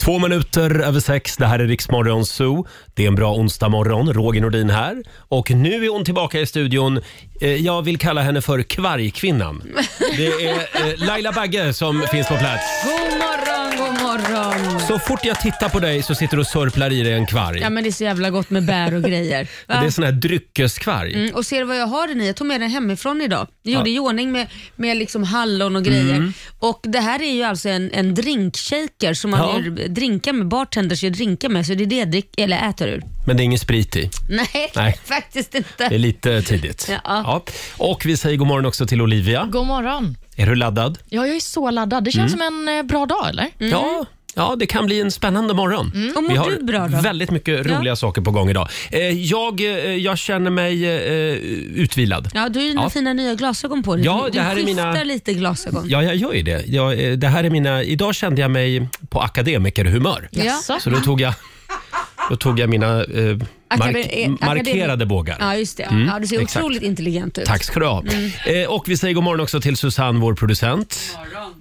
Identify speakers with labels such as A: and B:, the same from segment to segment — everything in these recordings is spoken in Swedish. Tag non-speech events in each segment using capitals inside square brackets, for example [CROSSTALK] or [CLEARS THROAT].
A: Två minuter över sex, det här är Riksmorgon Zoo. Det är en bra onsdagmorgon, Roger Nordin här. Och nu är hon tillbaka i studion. Eh, Jag vill kalla henne för Kvargkvinnan. Det är eh, Laila Bagge som finns på plats.
B: God morgon, god morgon.
A: Så fort jag tittar på dig så sitter du och sörplar i dig en kvarg.
B: Ja men det är så jävla gott med bär
A: [LAUGHS]
B: och grejer. Va?
A: Det är sån här dryckeskvarg.
B: Mm, och ser du vad jag har den i? Jag tog med den hemifrån idag. Jag gjorde i ordning med, med liksom hallon och grejer.
A: Mm.
B: Och Det här är ju alltså en, en drinkshaker som man
A: Ja.
B: gör drinkar med, bartenders gör drinkar med, så det är det jag drick, eller äter ur. [LAUGHS]
A: Men det är ingen sprit i.
B: Nej,
A: Nej.
B: [LAUGHS] faktiskt
A: Det är
B: inte.
A: lite tidigt.
B: Ja.
A: Och vi säger god morgon också till Olivia.
C: God morgon.
A: Är du laddad?
C: Ja, jag är så laddad. Det känns
A: Mm.
C: som en eh, bra dag, eller?
B: Mm.
A: Ja, ja, det kan bli en spännande morgon.
B: Och mår
A: Vi har
B: du bra då?
A: väldigt mycket roliga saker på gång idag. Eh, jag, eh, jag känner mig eh, utvilad.
B: Ja, du har ju dina
A: Ja.
B: fina nya glasögon på dig.
A: Ja,
B: du
A: det här är
B: du skiftar
A: mina-
B: lite glasögon.
A: Ja, jag gör ju det. Jag, eh, det här är mina, idag kände jag mig på akademikerhumör.
B: Ja.
C: Jaså?
A: Så då tog jag, då tog jag mina eh, mark,
B: Akademi-
A: markerade bågar.
B: Ja, Mm. just det. Ja, du ser
A: Mm, exakt.
B: otroligt intelligent ut.
A: Tack ska du ha. Eh, och vi säger god morgon också till Susanne, vår producent.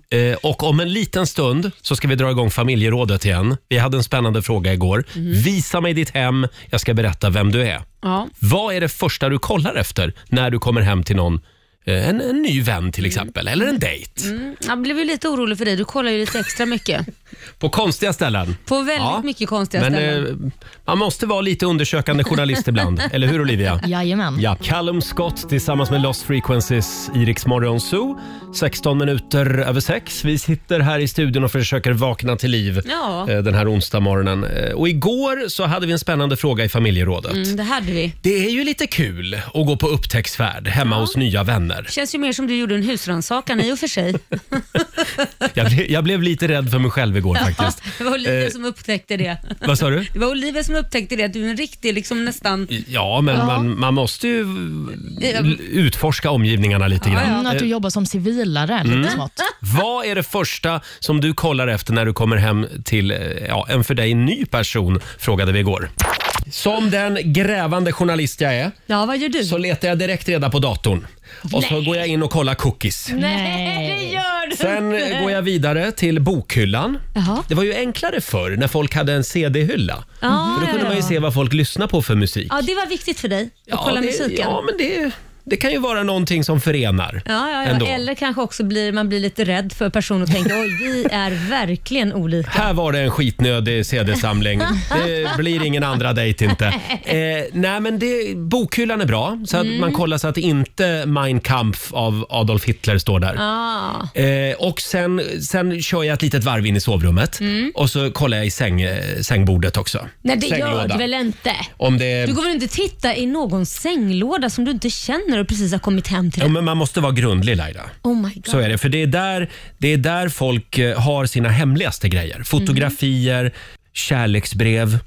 A: Eh, och om en liten stund så ska vi dra igång familjerådet igen. Vi hade en spännande fråga igår.
B: Mm.
A: Visa mig ditt hem, jag ska berätta vem du är.
B: Ja.
A: Vad är det första du kollar efter när du kommer hem till någon? Eh, En, en ny vän till exempel, eller en dejt.
B: Mm, Jag blev ju lite orolig för dig. Du kollar ju lite extra mycket.
A: På konstiga ställen.
B: På väldigt
A: Ja,
B: mycket konstiga
A: Men
B: ställen.
A: eh, man måste vara lite undersökande journalist
B: [LAUGHS]
A: ibland, eller hur Olivia?
C: Jajamän.
A: Ja, Callum Scott tillsammans med Lost Frequencies i Rix Morgon Zoo. 16 minuter över sex. Vi sitter här i studion och försöker vakna till liv
B: Ja.
A: eh, den här onsdag morgonen. Eh, Och igår så hade vi en spännande fråga i familjerådet.
B: Mm, det hade vi.
A: Det är ju lite kul att gå på upptäcktsfärd hemma hos nya vänner.
B: känns ju mer som du gjorde en husrannsakan i och
A: [LAUGHS]
B: för sig. [LAUGHS]
A: Jag, ble, jag blev lite rädd för mig själv igår faktiskt.
B: Det var Olivia
A: Eh.
B: som upptäckte det.
A: Vad sa du?
B: Det var Olivia som upptäckte det, att du är en riktig liksom nästan...
A: Ja, men
C: Ja.
A: Man, man måste ju l- utforska omgivningarna lite grann.
C: Mm, att du jobbar som civilare, lite
A: Mm.
C: smått.
A: Vad är det första som du kollar efter när du kommer hem till eh, ja, en för dig ny person? Frågade vi igår. Som den grävande journalist jag är
B: Ja, vad gör du?
A: så letar jag direkt reda på datorn. Och så går jag in och kollar cookies.
C: Nej.
B: gör du
A: Sen eh, går jag vidare till bokhyllan.
B: Jaha.
A: Det var ju enklare förr när folk hade en CD-hylla.
B: Ja,
A: För då kunde
B: ja,
A: man ju
B: ja.
A: se vad folk lyssnar på för musik.
B: ja, det var viktigt för dig att kolla
A: det,
B: musiken.
A: Ja,
B: Ja,
A: men det, det kan ju vara någonting som förenar.
B: ja,
A: ändå.
B: ja. Eller kanske också blir man blir lite rädd för personen och tänker oj, vi är verkligen olika.
A: Här var det en skitnödig CD-samling. Det blir ingen andra dejt
B: [LAUGHS]
A: inte. Eh, nej men det, bokhyllan är bra, så att
B: Mm.
A: man kollar så att inte Mein Kampf av Adolf Hitler står där.
B: Ah.
A: Eh, och sen, sen kör jag ett litet varv in i sovrummet
B: Mm.
A: och så kollar jag i säng, eh, sängbordet också.
B: Nej, det
A: Sänglåda.
B: gör du väl inte?
A: Om det,
B: Du går väl inte titta i någon sänglåda som du inte känner och precis har kommit hem till?
A: ja, men man måste vara grundlig Laila.
B: Oh my god.
A: Så är det, för det är där, det är där folk eh, har sina hemligaste grejer. Fotografier, kärleksbrev,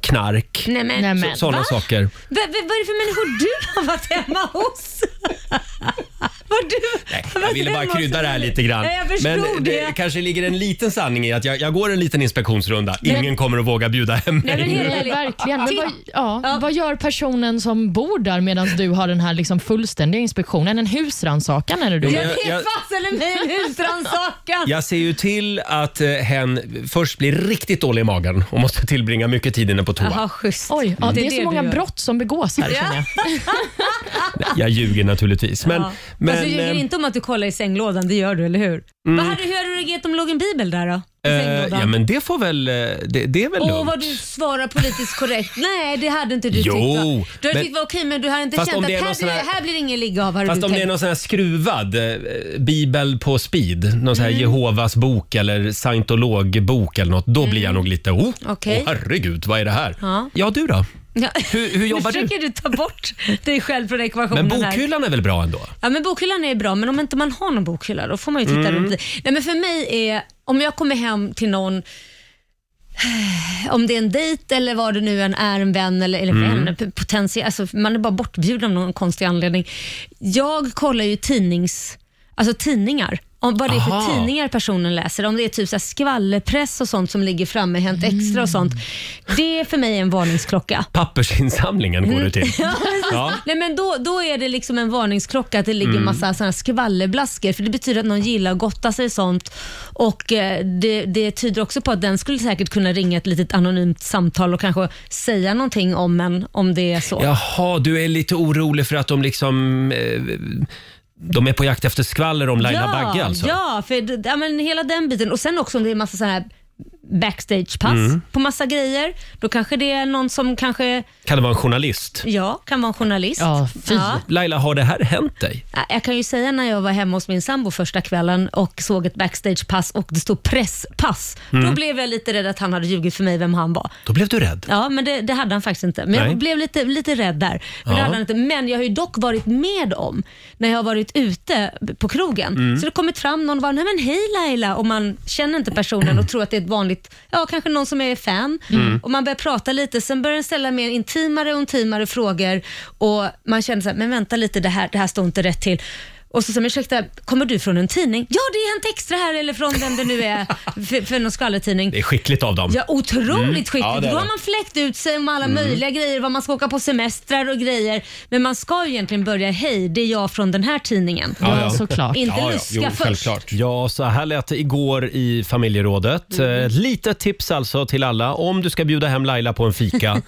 A: knark.
B: Nej, men,
C: Nej,
B: Nej,
C: men.
A: Sådana
B: [LAUGHS]
A: saker.
B: V- v- vad är det för människor du har varit hemma hos? [LAUGHS] Var du,
A: Nej,
B: har
A: jag
B: varit
A: ville bara
B: hemma hos-
A: krydda det här lite grann.
B: Ja, jag förstod
A: Men eh,
B: det.
A: det kanske ligger en liten sanning i att jag, jag går en liten inspektionsrunda. Ingen kommer att våga bjuda hem
B: Nej, men
A: mig.
B: helt
C: Nej,
B: ärligt.
C: verkligen. Men
B: Titt-
C: vad, ja, vad gör personen som bor där medan du har den här liksom fullständiga inspektionen? En husrannsakan eller
A: Jo,
C: du?
A: men-
B: Det
A: Jag-
B: är fasen i mig en husrannsakan!
A: Jag ser ju till att eh, hen först blir riktigt dålig i magen och måste tillbringa mycket tid inne på toa.
B: Jaha, schysst.
C: Oj, ja, det,
B: Mm. Det är
C: är
B: det
C: så många
B: du gör.
C: brott som begås här känner jag.
A: Jag ljuger naturligtvis. Men,
B: ja.
A: men,
B: Fast du ljuger
A: eh,
B: Alltså, inte om att du kollar i sänglådan, det gör du, eller hur? Vad hade, hur hade du reagerat om det låg en bibel där då? I
A: eh,
B: sänglådan?
A: ja, men det får väl... eh, Det, det är väl
B: Åh,
A: lugnt.
B: vad du svarar politiskt korrekt. Nej, det hade inte du
A: Jo,
B: tyckt va? Du hade
A: men-
B: tyckt var okej, men du hade inte
A: Fast om
B: känt att
A: det är någon
B: här,
A: sån här-
B: blir, här blir det ingen ligga av. hade
A: Fast
B: du
A: om det är
B: tänkt.
A: någon sån här skruvad eh, bibel på speed, någon sån
B: Mm.
A: här Jehovas bok eller scientologbok eller något, då blir jag nog lite oh,
B: Mm. Okej.
A: åh, herregud, vad är det här?
B: Ja.
A: ja du då?
B: Ja.
A: Hur- hur jobbar
B: nu
A: du?
B: försöker du ta bort dig själv från ekvationen
A: Men
B: här.
A: bokhyllan är väl bra ändå?
B: Ja, men bokhyllan är bra, men om inte man har någon bokhylla då får man ju titta
A: Mm.
B: runt. lite. Nej, men för mig är, om jag kommer hem till någon, om det är en dejt eller vad det nu än är, en vän eller, eller
A: Mm.
B: vän, p- potentiell, alltså, man är bara bortbjuden av någon konstig anledning. Jag kollar ju tidnings, alltså tidningar. Om vad det är för
A: Aha.
B: tidningar personen läser. Om det är typ så här skvallerpress och sånt som ligger framme, Hänt Extra och sånt. Det är för mig
A: [LAUGHS]
B: en varningsklocka.
A: Pappersinsamlingen går det
B: [LAUGHS]
A: till.
B: Ja, precis.
A: Ja.
B: Nej, men då, då är det liksom en varningsklocka att det ligger
A: Mm.
B: massa såna här skvallerblaskor. För det betyder att någon gillar att gotta sig i sånt. Och eh, det, det tyder också på att den skulle säkert kunna ringa ett litet anonymt samtal och kanske säga någonting om en, om det är så.
A: Jaha, du är lite orolig för att de liksom... Eh, de är på jakt efter skvaller om Laila
B: ja,
A: Bagge alltså?
B: Ja, för d- ja, men hela den biten. Och sen också om det är massa så här backstagepass
A: Mm.
B: på massa grejer. Då kanske det är någon som kanske,
A: Kan det vara en journalist?
B: ja, kan vara en journalist.
C: Ja, fy.
A: Laila, har det här hänt dig?
B: Ja, Äh, Jag kan ju säga när jag var hemma hos min sambo första kvällen och såg ett backstagepass och det stod presspass. Då blev jag lite rädd att han hade ljugit för mig vem han var.
A: Då blev du rädd.
B: Ja, men det, det hade han faktiskt inte. Men
A: Nej.
B: jag blev lite, lite rädd där. Men,
A: Ja.
B: det hade han inte. men jag har ju dock varit med om, när jag har varit ute på krogen,
A: Mm.
B: så det har kommit fram någon och bara, nej men hej Laila, och man känner inte personen och tror att det är ett vanligt, ja kanske någon som är fan.
A: Mm.
B: Och man börjar prata lite, sen börjar den ställa mer intimare och intimare frågor och man känner så här, men vänta lite, det här, det här står inte rätt till. Och så säger man, ursäkta, kommer du från en tidning? Ja, det är Hänt Extra här, eller från vem det
A: [LAUGHS]
B: nu är, för, för någon skvallertidning.
A: Det är skickligt av dem.
B: Ja, otroligt skickligt.
A: Mm. Ja, det är
B: Då har
A: det. Mm.
B: man fläkt ut sig med alla möjliga grejer, vad man ska åka på semestrar och grejer. Men man ska ju egentligen börja, hej, det är jag från den här tidningen.
A: Ja,
C: Ja,
A: ja.
C: såklart.
B: Inte luska först.
A: Ja, så här lät det igår i familjerådet. Mm. Litet tips alltså till alla. Om du ska bjuda hem Laila på en [LAUGHS] fika,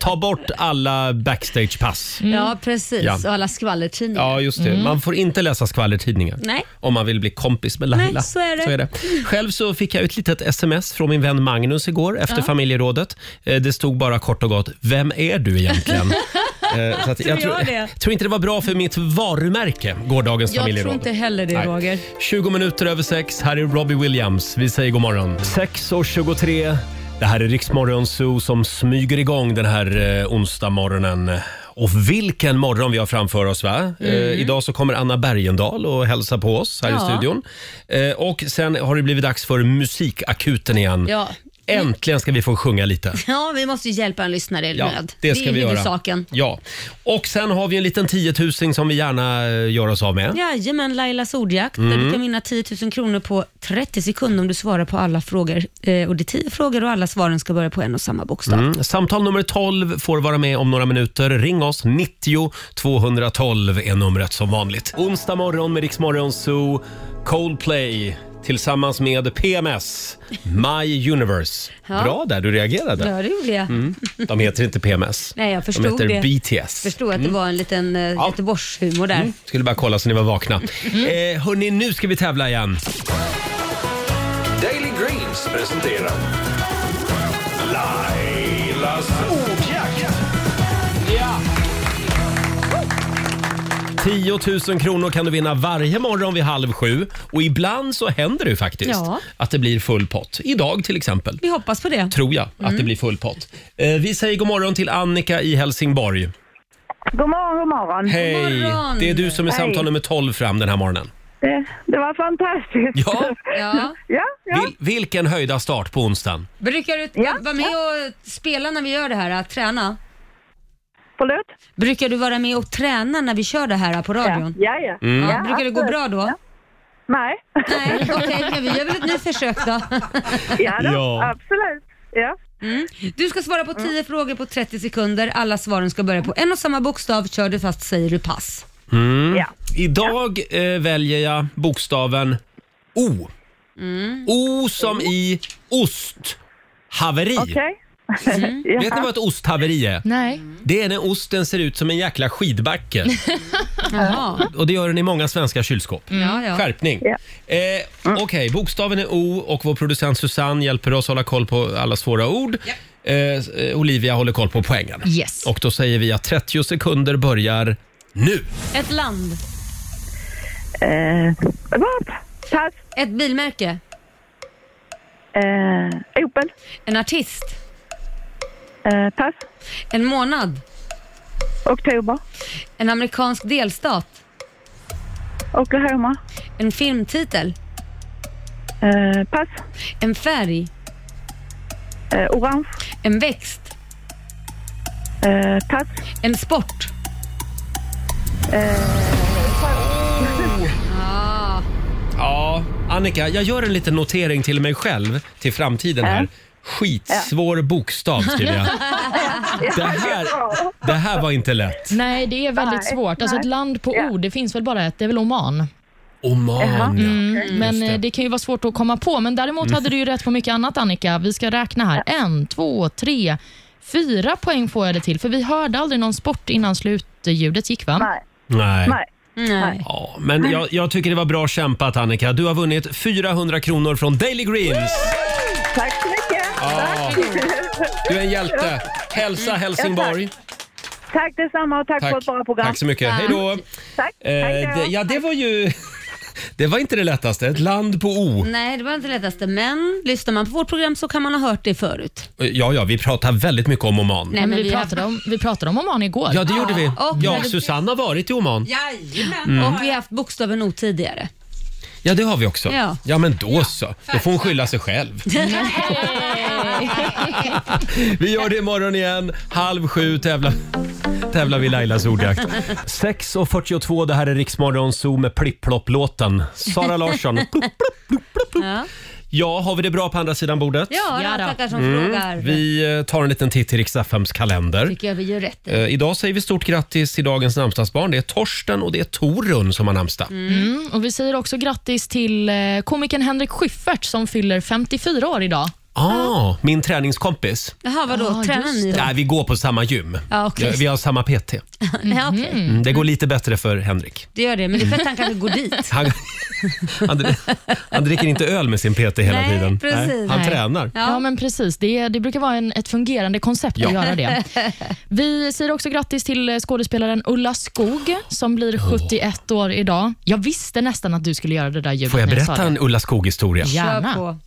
A: ta bort alla backstagepass.
B: Mm. Ja, precis.
A: Mm. Ja.
B: Och alla skvallertidningar.
A: Ja, just det. Man får inte läsa skvallertidningar
B: Nej.
A: om man vill bli kompis med Laila.
B: Nej, så är det.
A: Själv så fick jag ett litet sms från min vän Magnus igår efter familjerådet. Eh, Det stod bara kort och gott, vem är du
B: [LAUGHS]
A: egentligen? Eh, så att
B: Tror jag det.
A: tror inte det var bra för mitt varumärke, gårdagens
B: Jag
A: familjeråd.
B: tror inte heller det,
A: Nej.
B: Roger.
A: 20 minuter över sex. Här är Robbie Williams. Vi säger god morgon. 6.23. Det här är Riksmorgon Zoo som smyger igång den här eh, onsdag Och vilken morgon vi har framför oss va? Eh, idag så kommer Anna Bergendahl och hälsa på oss här i
B: Mm. Ja.
A: studion. Eh, och sen har det blivit dags för musikakuten igen.
B: Ja.
A: Äntligen ska vi få sjunga lite.
B: ja, vi måste ju hjälpa en lyssnare i nöd.
A: det ska
B: är
A: vi göra.
B: huvudsaken.
A: Ja. Och sen har vi en liten tiotusing som vi gärna eh, gör oss av med.
B: Jajamän, Lailas ordjakt
A: Mm.
B: där du kan vinna 10 000 kronor på 30 sekunder om du svarar på alla frågor. Eh, och det är 10 frågor och alla svaren ska börja på en och samma bokstav.
A: Mm. Samtal nummer 12 får vara med om några minuter. Ring oss. 90 212 är numret som vanligt. Onsdag morgon med Rix Morgon Zoo. Coldplay tillsammans med PMS, My Universe.
B: Ja.
A: Bra där, du reagerade.
B: Ja, det gjorde jag.
A: Mm. De heter inte PMS.
B: Nej, jag
A: De
B: förstod
A: heter
B: det.
A: BTS.
B: förstod att det var en liten eh, Göteborgshumor där.
A: Skulle bara kolla så ni var vakna.
B: Mm.
A: Eh, hörni, nu ska vi tävla igen.
D: Daily Greens presenterar Lailas ordjakt.
A: 10 000 kronor kan du vinna varje morgon vid halv sju. Och ibland så händer det ju faktiskt
B: Ja.
A: att det blir full pott. Idag till exempel.
B: Vi hoppas på det.
A: tror jag, att det blir full pott. Eh, vi säger god morgon till Annika i Helsingborg.
E: God morgon, god morgon.
A: Hej!
B: morgon.
A: Det är du som är samtal
E: Hej.
A: nummer 12 fram den här morgonen.
E: Det, det var fantastiskt.
A: Ja,
B: Ja.
E: ja, ja.
A: vil, vilken höjda start på onsdagen.
B: Brukar du
E: Ja,
B: vara med och spela när vi gör det här, att träna?
E: Förlåt?
B: Brukar du vara med och träna när vi kör det här på
E: Ja,
B: radion?
E: ja. ja.
A: Mm.
B: Ja, brukar det gå
E: absolut.
B: bra då?
E: Nej.
B: Nej, okej, men vi gör väl ett nytt försök då. [LAUGHS]
E: Ja, då,
A: [LAUGHS] Ja.
E: absolut. Ja.
B: Du ska svara på 10 frågor på 30 sekunder. Alla svaren ska börja på en och samma bokstav. Kör du fast säger du pass.
E: Ja.
A: Idag eh, väljer jag bokstaven O.
E: Mm.
A: O som i ost. Haveri.
E: Okej. Mm. ja.
A: Vet ni vad ett osthaveri är?
C: Nej.
A: Det är när osten ser ut som en jäkla
E: [LAUGHS]
A: skidbacke.
B: Jaha.
A: Och det gör den i många svenska kylskåp.
B: Ja, ja.
A: Skärpning.
E: Ja. Mm.
A: Eh, Okej, bokstaven är O och vår producent Susanne hjälper oss hålla koll på alla svåra ord. Eh, eh, Olivia håller koll på poängen.
C: Yes.
A: Och då säger vi att 30 sekunder börjar nu.
B: Ett land.
E: Eh, vad? Pass.
B: Ett bilmärke.
E: Eh, Opel.
B: En artist.
E: Eh, pass.
B: En månad.
E: Oktober.
B: En amerikansk delstat.
E: Oklahoma.
B: En filmtitel.
E: Eh, pass.
B: En färg.
E: Eh, orange.
B: En växt.
E: Eh, pass.
B: En sport.
A: Ja, Annika, jag gör en liten notering till mig själv till framtiden här.
E: Ja.
A: Skitsvår bokstav skriver
E: [LAUGHS]
A: jag. Det här, det här var inte lätt.
C: Nej, det är väldigt
E: Nej,
C: svårt. Alltså
E: nej.
C: ett land på
E: Ja.
C: ord, det finns väl bara ett, det är väl Oman.
A: Oman,
E: Mm.
A: ja.
C: Men
A: Mm.
C: eh,
A: det. Mm.
C: det. det kan ju vara svårt att komma på. Men däremot hade du ju rätt på mycket annat Annika. Vi ska räkna här. En, två, tre, fyra poäng får jag det till. För vi hörde aldrig någon sport innan slutljudet gick va?
E: Nej.
A: Nej.
E: Nej.
B: Nej.
A: Ja, men jag, jag tycker det var bra kämpat Annika. Du har vunnit 400 kronor från Daily Greens.
E: Tack så mycket.
A: Ja. Du är en hjälte. Hälsa Helsingborg.
E: [LAUGHS] Tack detsamma och tack, för ett bra program.
A: Tack så mycket. Hej då.
E: Tack.
A: Eh,
E: Tack,
A: det, ja, det var ju... [LAUGHS] Det var inte det lättaste. Ett land på O.
B: Nej, det var inte det lättaste. Men lyssnar man på vårt program så kan man ha hört det förut.
A: Ja, ja, vi pratar väldigt mycket om Oman.
B: Nej,
C: Men vi, pratade om, vi pratade om Oman igår.
A: Ja, det gjorde vi.
B: och
A: Ja,
B: väldigt-
A: Susanne har varit i Oman.
B: Jajamän. Och vi har haft bokstaven O tidigare.
A: Ja, det har vi också.
B: Ja.
A: Ja, men då så. Då får hon skylla sig
B: [LAUGHS]
A: själv. Vi gör det imorgon igen. Halv sju tävlar, tävlar vi i Lailas ordjakt. 6.42, det här är Riksmorgon Zoo med Plipplopp-låten. Sara
B: [LAUGHS]
A: Larsson. Plopp, plopp, plopp, plopp, plopp.
B: Ja,
A: Ja, har vi det bra på andra sidan bordet?
B: ja det
C: Ja
B: var
C: då.
B: tackar som frågar.
A: Mm, Vi eh, tar en liten titt i Rix FMs kalender.
B: tycker jag vi gör rätt i.
A: Eh, idag säger vi stort grattis till dagens namnsdagsbarn. Det är Torsten och det är Torun som har namnsdag.
C: Mm, och vi säger också grattis till eh, komikern Henrik Schyffert som fyller 54 år idag.
A: Ah, min träningskompis.
B: Jaha, vadå?
C: Ja,
B: Tränar
C: just
B: ni då?
A: Nej, vi går på samma gym.
B: Ja, okej.
A: Eh, Vi har samma PT.
B: Ja, okej.
A: Mm, det går lite bättre för Henrik.
B: Det gör det, men det är för att han kanske går [LAUGHS] dit.
A: Han, han, dri- han dricker inte öl med sin PT hela
B: Nej,
A: tiden.
B: precis.
A: han
C: Nej.
A: tränar.
B: Ja.
C: Ja, men precis. Det, det brukar vara en, ett fungerande koncept att göra [LAUGHS] det. Vi säger också grattis till eh, skådespelaren Ulla Skog som blir 71 år idag. Jag visste nästan att du skulle göra det där ljudet
A: Får jag
C: när sa
A: berätta
C: det.
A: en Ulla Skog-historia?
B: Kör
C: Gärna.
B: på.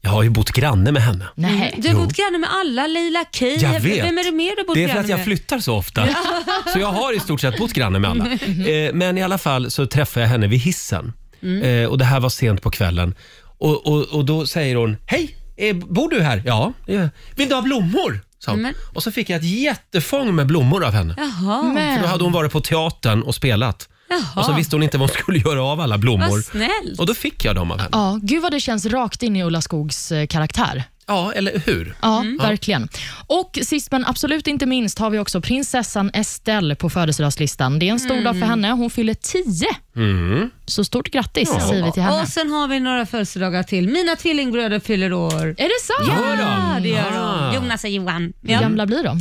A: Jag har ju bott granne med henne.
C: Nej.
B: Du har bott granne med alla, Leila Key.
A: Jag vet.
B: Vem är det mer du har bott
A: Det är för
B: granne
A: att jag
B: med?
A: flyttar så ofta. [LAUGHS] Så jag har i stort sett bott granne med alla.
B: Mm,
A: Eh, Men i alla fall så träffade jag henne vid hissen.
B: Mm.
A: Eh, Och det här var sent på kvällen. Och, och, och då säger hon, hej, eh, bor du här? Ja. det gör jag. Vill du ha blommor? Sa hon.
B: Mm, Men-
A: Och så fick jag ett jättefång med blommor av henne.
B: Jaha.
A: Mm. För då
C: Men,
A: hade hon varit på teatern och spelat.
B: Jaha.
A: Och så visste hon inte vad hon skulle göra av alla blommor.
B: Vad snällt.
A: Och då fick jag dem av henne.
C: ja, gud vad det känns rakt in i Ulla Skogs eh, karaktär.
A: Ja, eller hur?
C: Mm. Ja, verkligen. Och sist men absolut inte minst har vi också prinsessan Estelle på födelsedagslistan. Det är en stor dag för henne. Hon fyller 10.
A: Mm.
C: Så stort grattis säger vi till henne.
B: Och sen har vi några födelsedagar till. Mina tvillingbröder fyller år.
C: Är det sant?
A: Gör de?
B: det gör
A: Ah.
B: de. Jonas och Johan.
C: Hur
B: Ja.
C: gamla blir de?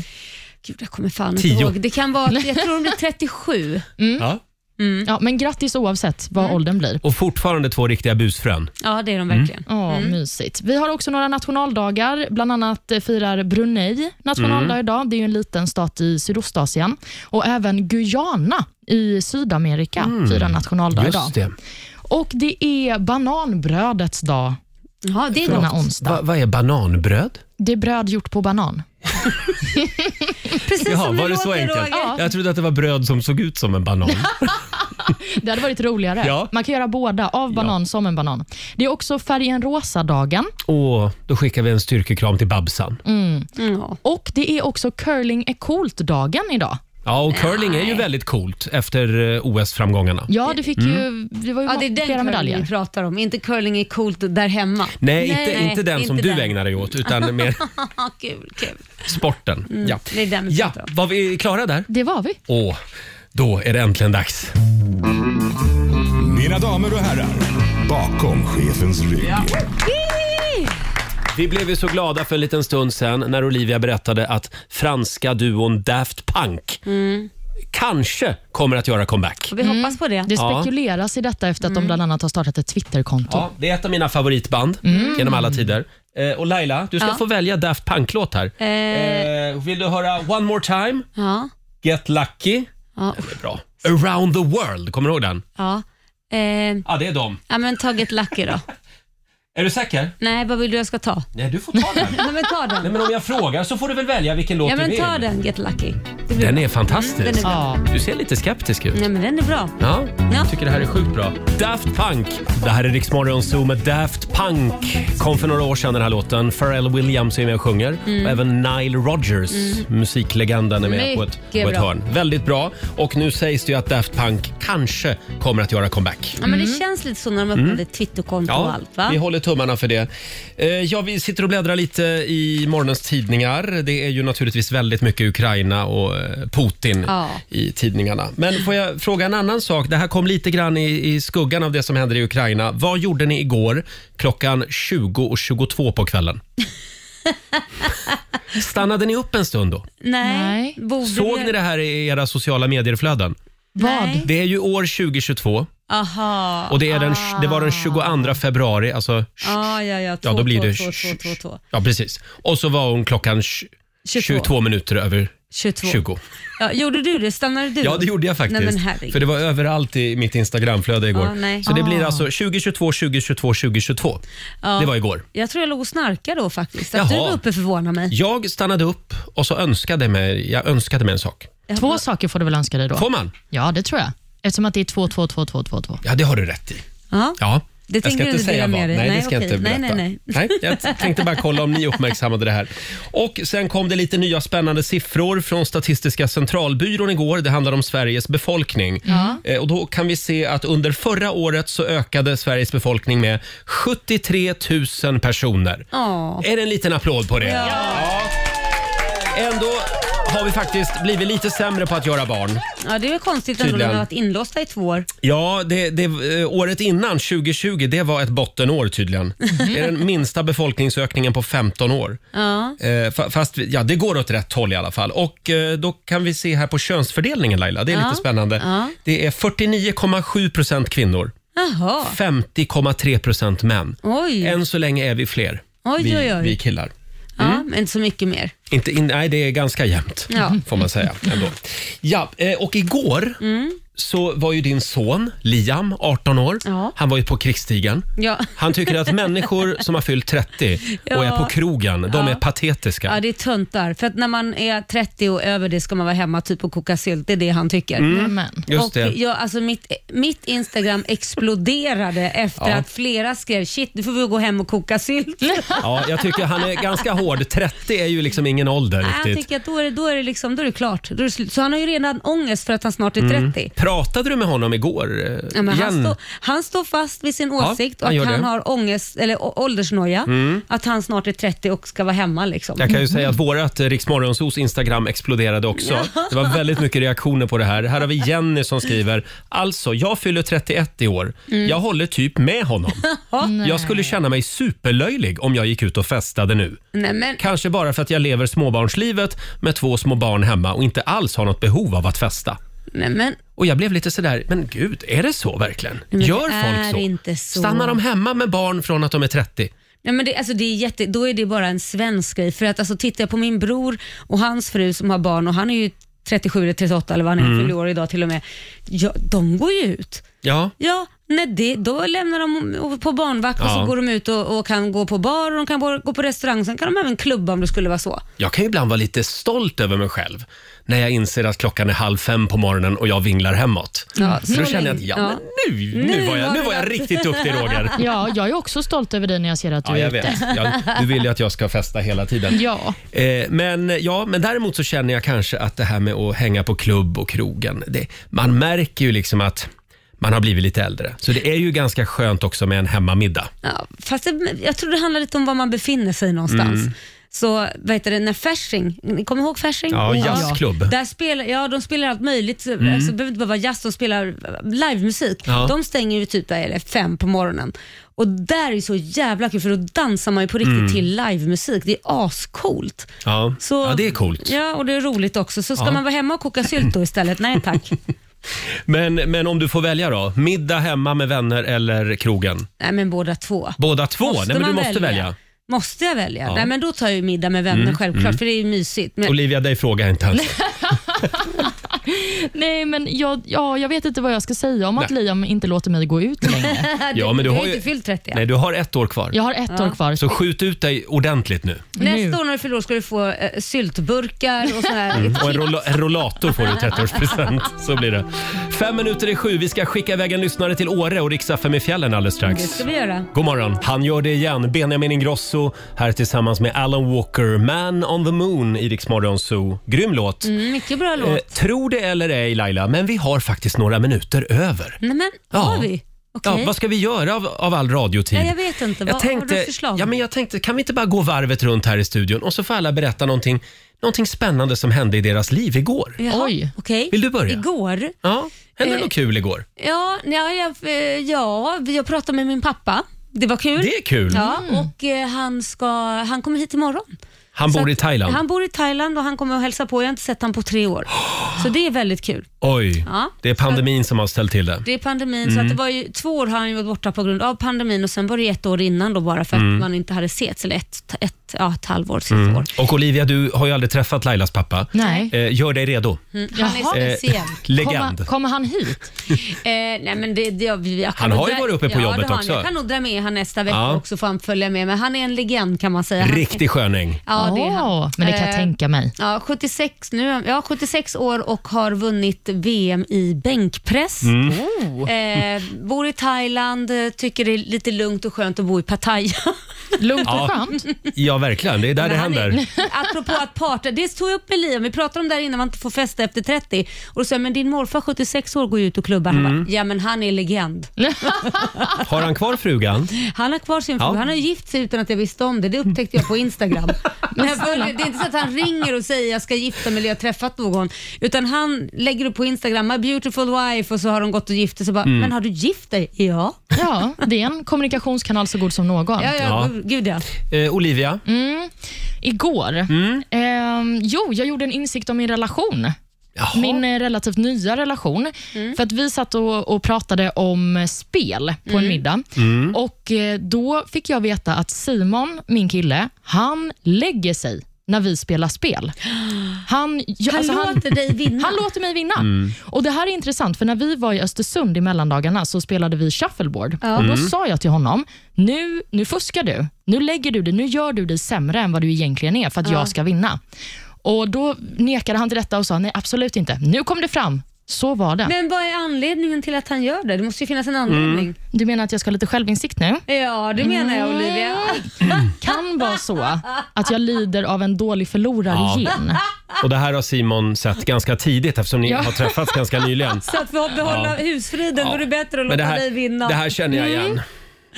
B: Gud, jag kommer fan inte
A: Tio.
B: ihåg. Det kan vara, jag tror de blir 37.
A: Ja.
C: Ja, men grattis oavsett vad åldern blir.
A: Och fortfarande två riktiga busfrön.
B: Ja, det är
A: Mm.
B: de verkligen.
C: Åh, mysigt. Vi har också några nationaldagar. Bland annat eh, firar Brunei nationaldag
A: Mm.
C: idag. Det är ju en liten stat i Sydostasien. Och även Guyana i Sydamerika firar nationaldag idag.
A: Mm. Just det.
C: Och det är bananbrödets dag
B: Ja, det är
C: denna
B: de.
C: onsdag.
A: Va, vad är bananbröd?
C: Det är bröd gjort på banan.
B: Precis
A: Jaha,
B: som det
A: var det
B: låter,
A: så enkelt?
B: Roger.
A: Jag trodde att det var bröd som såg ut som en banan.
B: [LAUGHS]
C: Det hade varit roligare.
A: Ja.
C: Man kan göra båda, av banan som en banan. Det är också färgen rosa-dagen
A: Och då skickar vi en styrkekram till Babsan.
B: Mm. Ja.
C: och det är också curling är coolt-dagen idag.
A: Ja, och curling är ju väldigt coolt efter eh, OS-framgångarna.
C: Ja, det fick
A: Mm.
C: ju, det var ju
B: Ja, det är den
C: flera
B: curling
C: medaljer.
B: vi pratar om, inte curling är coolt där hemma.
A: Nej, inte, inte den som du
B: den.
A: ägnar dig åt, utan
B: [LAUGHS]
A: mer
B: Ja, kul, kul.
A: sporten. Ja.
B: det är den vi
A: ja,
B: pratar om.
A: var vi klara där?
C: Det var vi.
A: Åh, då är det äntligen dags.
D: Mina damer och herrar, bakom chefens rygg.
A: Vi blev ju så glada för en liten stund sen när Olivia berättade att franska duon Daft Punk
B: Mm.
A: kanske kommer att göra comeback.
B: Och vi hoppas på det.
C: Det
A: Ja.
C: spekuleras i detta efter att
B: Mm.
C: de bland annat har startat ett Twitterkonto.
A: Ja, det är ett av mina favoritband genom alla tider. Eh, och Laila, du ska
B: Mm. Ja.
A: få välja Daft Punk-låt här.
B: Eh,
A: Eh, vill du höra One More Time,
B: ja,
A: Get Lucky?
B: ja,
A: Det är bra. Around the World, kommer du ihåg den?
B: ja. Eh,
A: Ja, det är dem.
B: ja men taget Lucky då.
A: Är du säker?
B: Nej, vad vill du jag ska ta?
A: Nej, du får ta den.
B: [LAUGHS] Ja, men ta
A: [LAUGHS]
B: den.
A: Nej, men om jag frågar så får du väl välja vilken låt
B: Ja,
A: du
B: men
A: vill.
B: ta den, Get Lucky. Det blir
A: Den
B: bra.
A: är fantastisk.
B: Den är bra.
C: Ja.
A: Du ser lite skeptisk ut.
B: Nej, men den är bra.
A: Ja,
B: Ja.
A: jag tycker det här är sjukt bra. Daft Punk. Det här är Rix Morgon Zoo med Daft Punk. Kom för några år sedan den här låten. Pharrell Williams är med och sjunger.
B: Mm.
A: Och även Nile Rodgers, musiklegenden, är med på ett, på
B: Mycket
A: ett
B: bra.
A: hörn. Väldigt bra. Och nu sägs det ju att Daft Punk kanske kommer att göra comeback.
B: Ja, men det känns lite så när de öppnade Twitterkonto och allt. Va?
A: Mm. vi håller tummarna för det. Eh, ja, vi sitter och bläddrar lite i morgonens tidningar. Det är ju naturligtvis väldigt mycket Ukraina och eh, Putin
B: Ja.
A: i tidningarna. Men får jag fråga en annan sak? Det här kom lite grann i, i skuggan av det som hände i Ukraina. Vad gjorde ni igår klockan 20.22 på
B: [LAUGHS]
A: kvällen? Stannade ni upp en stund då?
B: Nej.
C: Nej.
B: Borde
A: Såg
B: vi-
A: ni det här i era sociala medierflöden?
C: Vad?
B: Nej.
A: Det är ju år 2022
B: Aha.
A: och det, är den, det var den 22 februari, alltså
B: Ah, ja, ja. Två,
A: Ja, då blir
B: två,
A: det...
B: två, två, två, två.
A: Ja, precis. Och så var hon klockan tj-
B: 22.
A: 22, minuter över
B: 22.
A: 20.
B: Ja, gjorde du det? Stannade du?
A: Ja, det gjorde jag faktiskt.
B: [LAUGHS] Nej, men herregud.
A: för det var överallt i mitt Instagramflöde igår.
B: Ah, nej.
A: så det blir alltså 2022, 2022, 2022.
B: Ja.
A: Det var igår.
B: Jag tror jag låg och snarkade då faktiskt. Att
A: Jaha.
B: du var uppe förvånar mig.
A: Jag stannade upp och så önskade mig, jag önskade mig en sak.
C: Två saker får du väl önska dig då?
A: Får man?
C: Ja, det tror jag. Eftersom att det är två, två, två, två, två, två.
A: Ja, det har du rätt i.
B: Ja.
A: Ja.
B: Det
A: jag
B: tänker
A: ska inte
B: du inte
A: säga
B: dela
A: vad.
B: med dig.
A: Nej,
B: Nej,
A: det ska jag
B: okej.
A: inte berätta.
B: Nej, nej,
A: jag tänkte bara kolla om ni uppmärksammade det här. Och Sen kom det lite nya spännande siffror från Statistiska centralbyrån igår. Det handlar om Sveriges befolkning. Eh, Och Då kan vi se att under förra året så ökade Sveriges befolkning med 73 000 personer.
B: Ja.
A: Är det en liten applåd på det? Ja. Ändå har vi faktiskt blivit lite sämre på att göra barn.
B: ja, det är väl konstigt ändå när
A: Tydligen.
B: man har varit inlåsta i två år.
A: Ja, det, det, eh, året innan, 2020, det var ett bottenår tydligen.
B: Mhm.
A: Det är den minsta befolkningsökningen på 15 år.
B: Ja.
A: Eh, fa- Fast vi- ja, det går åt rätt håll i alla fall. Och eh, Då kan vi se här på könsfördelningen Laila, det är
B: Ja.
A: lite spännande.
B: Ja.
A: Det är 49,7 procent kvinnor,
B: Jaha.
A: 50,3 procent män.
B: Oj.
A: Än så länge är vi fler,
B: Oj,
A: vi,
B: oj, oj.
A: vi killar.
B: Ja,
A: Mm.
B: men inte så mycket mer.
A: Inte in, nej, det är ganska jämnt
B: Ja.
A: [LAUGHS] får man säga. Ändå. Ja, eh, och igår
B: Mm.
A: så var ju din son Liam, 18 år,
B: Ja.
A: han var ju på krigsstigen.
B: Ja.
A: Han tycker att människor som har fyllt 30 och är
B: [LAUGHS] Ja.
A: på krogen, de är patetiska.
B: Ja, det är töntar. För att när man är 30 och över det ska man vara hemma typ och koka sylt. Det är det han tycker.
A: Mm.
C: Amen.
A: Just
B: och
A: det.
B: Jag, alltså mitt, mitt Instagram exploderade
A: [LAUGHS]
B: efter
A: Ja.
B: att flera skrev shit, nu får vi gå hem och koka sylt.
A: Ja, jag tycker han är ganska hård. 30 är ju liksom ingen ålder
B: Nej, han
A: riktigt.
B: tycker att då är det, då är det, liksom, då är det klart. Då är det slut. Så han har ju redan ångest för att han snart är 30.
A: Pratade du med honom igår? eh,
B: Ja, men han,
A: Mm. igen?
B: står- han står fast vid sin
A: Ja,
B: åsikt
A: han
B: och
A: gör
B: att han
A: det. Mm.
B: har ångest, eller å- åldersnoja, att han snart är 30 och ska vara hemma. Liksom.
A: Jag kan ju säga att vårat eh, Rix Morgonzoos Instagram exploderade också. Det var väldigt mycket reaktioner på det här. Här har vi Jenny som skriver. Alltså, jag fyller 31 i år.
B: Mm.
A: Jag håller typ med
B: [LAUGHS]
A: honom. Jag skulle känna mig superlöjlig om jag gick ut och festade nu.
B: Nej, men,
A: Kanske bara för att jag lever småbarnslivet med två små barn hemma och inte alls har något behov av att festa.
B: nej, men,
A: Och jag blev lite sådär, men gud, är det så verkligen?
B: men det
A: Gör
B: är
A: folk så?
B: inte så.
A: Stannar de hemma med barn från att de är 30?
B: nej, men det, alltså, det är jätte, då är det bara en svensk grej. För att, alltså, tittar jag på min bror och hans fru som har barn och han är ju 37 eller 38 eller vad han är, fyller år idag till och med. Ja, de går ju ut.
A: Ja.
B: Ja, nej det, då lämnar de på barnvakt och
A: Ja.
B: så går de ut och, och kan gå på bar och de kan gå- gå på restaurang. Sen kan de även klubba om det skulle vara så.
A: Jag kan ju ibland vara lite stolt över mig själv när jag inser att klockan är halv fem på morgonen och jag vinglar hemåt.
B: Ja,
A: För
B: så
A: då känner jag att
B: länge.
A: ja,
B: Ja.
A: Men nu, nu, var jag, nu var jag riktigt duktig
B: [LAUGHS]
A: Roger.
C: Ja, jag är också stolt över dig när jag ser att du
A: Ja,
C: är
A: jag
C: ute.
A: vet. Jag, du vill ju att jag ska festa hela tiden.
C: Ja.
A: Eh, men, ja, men däremot så känner jag kanske att det här med att hänga på klubb och krogen, det, man märker ju liksom att man har blivit lite äldre. Så det är ju ganska skönt också med en hemmamiddag.
B: Ja, fast det, jag tror det handlar lite om var man befinner sig någonstans.
A: Mm.
B: Så vad heter det, när Fasching, ni kommer ihåg Fasching?
A: Ja, jazzklubb. Mm.
B: Där spelar, ja, de spelar allt möjligt. Så, alltså, det behöver inte bara vara jazz, de spelar eh, livemusik.
A: Ja.
B: De stänger ju typ där, eller fem på morgonen. Och där är det så jävla kul för då dansar man ju på
A: Mm.
B: riktigt till livemusik. Det är ascoolt.
A: Ja,
B: Så,
A: ja det är coolt.
B: Ja, och det är roligt också. Så ska man vara hemma och koka sylt då istället? Nej
A: [LAUGHS]
B: tack.
A: Men, men om du får välja då? Middag hemma med vänner eller krogen?
B: Nej men båda två.
A: Båda två? Nej, men du
B: man
A: måste välja. Mm,
B: Måste jag välja? Nej men då tar jag ju middag med vänner självklart för det är ju mysigt. [LAUGHS] Men,
A: Olivia, dig frågar jag inte ens.
C: Nej, men jag, ja, jag vet inte vad jag ska säga om att Liam inte låter mig gå ut
B: [LAUGHS]
C: längre.
A: Ja, men du
B: du
A: har
B: har ju
A: ju-
B: inte fyllt 30 än.
A: Nej, du har ett år kvar.
C: Jag har ett år kvar.
A: Så skjut ut dig ordentligt nu.
C: nu.
B: Nästa år månader fyller år ska du få eh, syltburkar och så här.
A: Och en, rolla- en rollator får du i
B: [LAUGHS]
A: 30-årspresent. Så blir det. Fem minuter i sju. Vi ska skicka iväg en lyssnare till Åre och riksa fem i fjällen alldeles strax.
B: Det ska vi göra.
A: God morgon. Han gör det igen. Benjamin Ingrosso här tillsammans med Alan Walker. Man on the moon i Rix Morgon Zoo. Grym låt.
B: Mm, mycket bra
A: Eh,
B: låt.
A: tror det eller ej Laila, men vi har faktiskt några minuter över.
B: Nej men,
A: ja.
B: har vi? Okej.
A: Ja, vad ska vi göra av, av all radiotid?
B: Ja, jag vet inte. Vad har du för förslag?
A: ja, men jag tänkte, kan vi inte bara gå varvet runt här i studion och så får alla berätta någonting, någonting spännande som hände i deras liv igår.
B: Jaha,
C: Oj.
B: okej.
A: Vill du börja?
B: Igår?
A: Ja, hände
B: Eh,
A: något kul igår?
B: Ja, ja, jag, eh, ja, jag pratade med min pappa. Det var kul.
A: Det Mm. är kul.
B: Ja, och eh, han, ska, han kommer hit imorgon.
A: Han
B: Så
A: bor i
B: att-
A: Thailand.
B: Han bor i Thailand och han kommer och hälsa på. Jag har inte sett honom på
A: [GASPS]
B: tre år. Så det är väldigt kul.
A: Oj,
B: Ja.
A: det är pandemin som har ställt till det.
B: Det är pandemin,
A: Mm.
B: så att det var ju, två år har han ju varit borta på grund av pandemin och sen var det ett år innan då bara för att
A: Mm.
B: man inte hade setts, eller ett, ett, ja, ett halvår, ett år.
A: Och Olivia, du har ju aldrig träffat Lailas pappa.
C: Nej.
A: Eh, gör dig redo. Eh,
B: Mm, han är
C: Jaha.
B: speciell.
A: Legend.
C: Kommer, kommer han hit?
B: Eh, nej, men det, det, jag, jag kan
A: Han
B: nog
A: har ju
B: dra-
A: varit uppe på
B: ja, det
A: jobbet
B: har han.
A: också.
B: Jag kan nog dra med han nästa vecka
A: Ja.
B: också får han följa med. Men han är en legend kan man säga. Han-
A: Riktig sköning.
B: Ja, det är
C: Åh,
B: han.
C: Men det kan jag
B: Eh,
C: tänka mig.
B: Ja, 76, nu, är han- ja, 76 år och har vunnit VM i bänkpress.
A: Mm.
B: Eh,
A: Oh.
B: bor i Thailand, eh, tycker det är lite lugnt och skönt att bo i Pattaya.
C: Lugnt och
A: Ja.
C: skönt.
A: Ja, verkligen. Det är där det
B: Men han
A: händer.
B: Är, apropå att parta, det tog jag upp med Liam, vi pratade om det här innan man inte får festa efter 30 och då sa jag, men din morfar 76 år går ju ut och klubbar.
A: Mm.
B: Han bara, ja men han är legend.
A: Har han kvar frugan?
B: Han har kvar sin fru,
A: Ja.
B: han har ju gift sig utan att jag visste om det. Det upptäckte jag
A: [LAUGHS]
B: på Instagram. Men jag följer, det är inte så att han ringer och säger jag ska gifta mig eller jag har träffat någon. Utan han lägger upp på Instagram, my beautiful wife och så har de gått och gift sig. Så bara,
A: Mm.
B: men har du gift dig? Ja.
C: Ja, det är en kommunikationskanal så god som någon.
B: Ja, ja,
A: Ja.
B: gud ja.
A: Eh, Olivia?
B: Mm.
C: Igår? Ehm, jo, jag gjorde en insikt om min relation.
A: Jaha.
C: Min eh, relativt nya relation.
B: Mm.
C: För att Vi satt och, och pratade om eh, spel på
B: Mm.
C: en middag. Och eh, Då fick jag veta att Simon, min kille, han lägger sig när vi spelar
B: [GASPS]
C: spel. Han, jag-
B: Han
C: alltså,
B: låter dig vinna.
C: han låter mig vinna. Och Det här är intressant, för när vi var i Östersund i mellandagarna så spelade vi shuffleboard. Och då sa jag till honom, nu, nu fuskar du. Nu lägger du dig, nu gör du dig sämre än vad du egentligen är för att jag ska vinna. Och Då nekade han till detta och sa, nej absolut inte. Nu kom det fram. Så var det.
B: Men vad är anledningen till att han gör det? Det måste ju finnas en anledning.
C: Du menar att jag ska ha lite självinsikt nu?
A: Mm.
B: Ja, det menar jag Olivia.
C: Kan vara så att jag lider av en dålig
A: Ja.
C: förlorare igen.
A: Och det här har Simon sett ganska tidigt eftersom ni
C: Ja.
A: har träffats ganska
B: [LAUGHS]
A: nyligen.
B: Så att för att behålla husfriden då är det bättre att
A: Men
B: låta
A: det
B: dig vinna.
A: här, det här känner jag igen.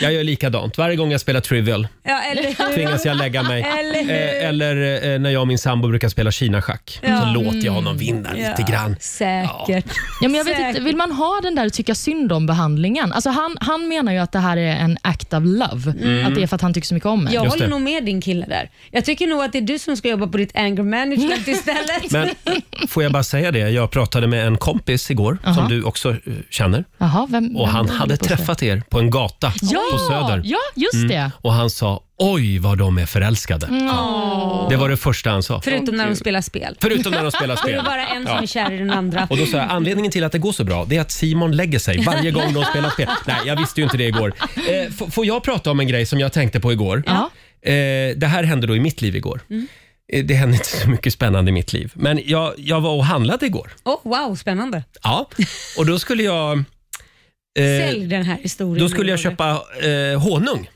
A: Jag gör likadant. Varje gång jag spelar Trivial
B: ja, eller hur?
A: tvingas jag lägga mig.
B: Eller hur?
A: Eh, eller eh, när jag och min sambo brukar spela Kina-schack. Så låter jag honom vinna lite grann.
B: Säkert.
C: Ja, men jag vet
B: Säkert.
C: inte, vill man ha den där tycka synd om-behandlingen? Alltså han, han menar ju att det här är en act of love.
A: Mm.
C: Att det är för att han tycker så mycket om mig.
B: Jag
A: Just
B: håller
A: det.
B: nog med din kille där. Jag tycker nog att det är du som ska jobba på ditt anger
A: [LAUGHS]
B: management istället. [LAUGHS]
A: Men får jag bara säga det, jag pratade med en kompis igår som du också eh, känner.
C: Jaha, vem,
A: Och
C: vem
A: han
C: håller
A: hade
C: på så?
A: träffat er på en gata
C: ja,
A: på Söder. Mm.
C: Ja, just det.
A: Och han sa oj vad de är förälskade. Det var det första han sa.
B: Förutom när de spelar spel.
A: Förutom när de spelar
B: Då är
A: spel.
B: det bara en som
A: Ja.
B: är kär i den andra.
A: Och då sa jag, anledningen till att det går så bra, det är att Simon lägger sig varje gång de spelar spel. Nej, jag visste ju inte det igår. Eh, f- får jag prata om en grej som jag tänkte på igår?
C: Ja.
A: Eh, det här hände då i mitt liv igår. Eh, Det hände inte så mycket spännande i mitt liv. Men jag, jag var och handlade igår.
B: Oh, wow, spännande.
A: Ja, och då skulle jag... eh,
B: Sälj den här historien.
A: då skulle jag
B: nu,
A: köpa eh, honung.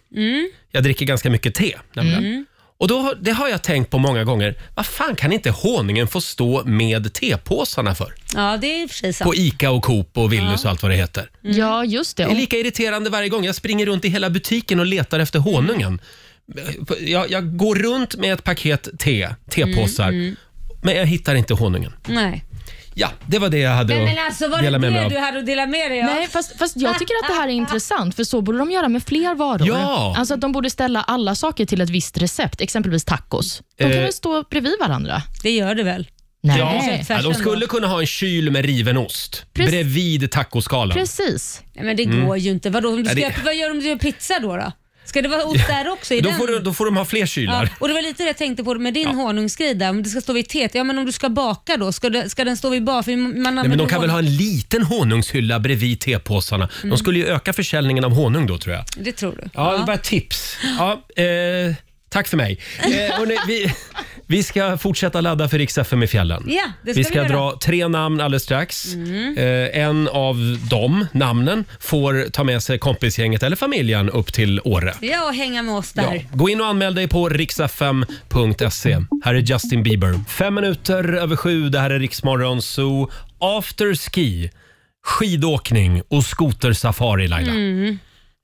A: Jag dricker ganska mycket te. nämligen. Och då, har- Det har jag tänkt på många gånger. Vad fan kan inte honungen få stå med tepåsarna för?
B: Roger. Ja, det är i och för sig sant.
A: På ICA och Coop och Willys och allt vad det heter.
C: Ja, just det.
A: Det är
C: Och,
A: lika irriterande varje gång. Jag springer runt i hela butiken och letar efter honungen. Jag, jag går runt med ett paket te, tepåsar,
B: Mm,
A: men jag hittar inte honungen.
B: Nej.
A: Ja, det var det jag hade
B: Men,
A: att
B: men alltså var det
A: dela med mig
B: det
A: av.
B: du hade att dela med dig av?
C: nej, fast, fast jag tycker att det här är intressant, för så borde de göra med fler varor.
A: Ja.
C: Alltså att de borde ställa alla saker till ett visst recept, exempelvis tacos. De kan
A: Eh.
C: väl stå bredvid varandra?
B: Det gör du väl?
C: Nej.
A: Ja,
B: Tvärsen
A: ja, de
B: då.
A: skulle kunna ha en kyl med riven ost
C: Precis.
A: bredvid tacoskalan.
C: Precis.
B: Nej, men det går ju inte. Vadå, om du ska,
A: Mm. Nej, det-
B: Vad gör du om du gör pizza då? då? Ska det vara ost där också? I
A: Då
B: den?
A: får, du, då får de ha fler kylar.
B: Ja, och det var lite det jag tänkte på med din honungsgrej där, om det ska stå vid teet. Ja men om du ska baka då, ska, det, ska den stå vid bar? För man
A: Nej,
B: använder
A: men de kan väl ha
B: honung.
A: en liten honungshylla bredvid tepåsarna.
B: Mm.
A: De skulle ju öka försäljningen av honung då tror jag.
B: Det tror du?
A: Ja, det var ett tips. Ja, eh, Tack för mig. Eh, hörni, vi, vi ska fortsätta ladda för Rix FM i fjällen.
B: Ja, det ska
A: vi ska
B: vi göra.
A: dra tre namn alldeles strax. Eh, en av de namnen får ta med sig kompisgänget eller familjen upp till Åre.
B: Ja, och hänga med oss
A: Ja.
B: där.
A: Gå in och anmäl dig på riksfm.se. Här är Justin Bieber. Fem minuter över sju. Det här är Riksmorgon Zoo. After ski, skidåkning och skotersafari, Laila.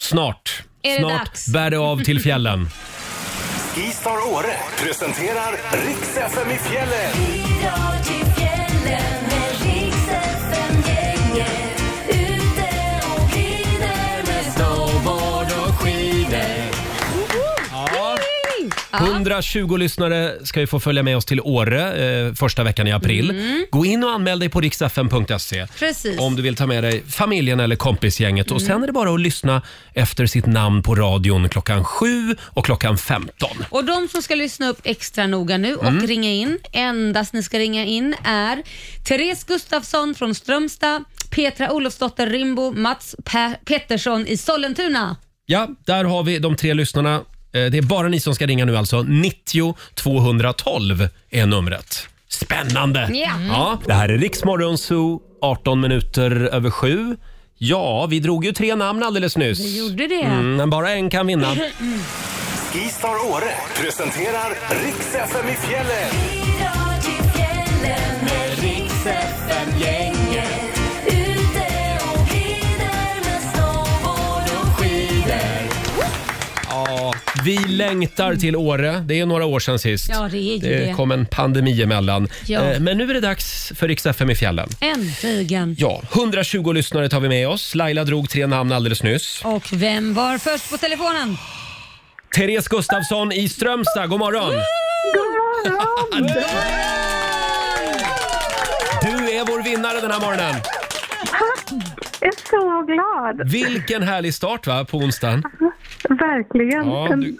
A: Snart.
B: Mm. Är det
A: Snart
B: dags?
A: bär det av till fjällen.
D: Skistar Åre presenterar Riks FM i fjällen.
A: Ja. 120 lyssnare ska ju få följa med oss till Åre eh, första veckan i april. Gå in och anmäl dig på riksfm.se
B: Precis.
A: om du vill ta med dig familjen eller kompisgänget. Och Sen är det bara att lyssna efter sitt namn på radion klockan 7 och klockan 15.
B: Och de som ska lyssna upp extra noga nu och ringa in, endast ni ska ringa in är Therese Gustafsson från Strömstad, Petra Olofsdotter Rimbo, Mats Pe- Pettersson i Sollentuna.
A: Ja, där har vi de tre lyssnarna. Eh, Det är bara ni som ska ringa nu alltså. 90 212 är numret. Spännande!
B: Ja. Mm.
A: Ja, det här är Riksmorgon Zoo, 18 minuter över sju. Ja, vi drog ju tre namn alldeles nyss. Vi
B: Gjorde det?
A: Mm, men bara en kan vinna.
D: Skistar Åre presenterar Riks FM i fjällen.
A: Vi längtar till Åre. Det är några år sedan sist.
B: Ja, det är ju det.
A: kom en pandemi emellan.
B: Ja.
A: Eh, Men nu är det dags för Rix FM i fjällen.
B: Äntligen.
A: Ja, 120 lyssnare tar vi med oss. Laila drog tre namn alldeles nyss.
B: Och vem var först på telefonen?
A: Therese Gustafsson i Strömstad, god morgon! God morgon! Du är vår vinnare den här morgonen.
E: Jag är så glad.
A: Vilken härlig start va, på onsdagen.
E: Verkligen.
A: Ja, du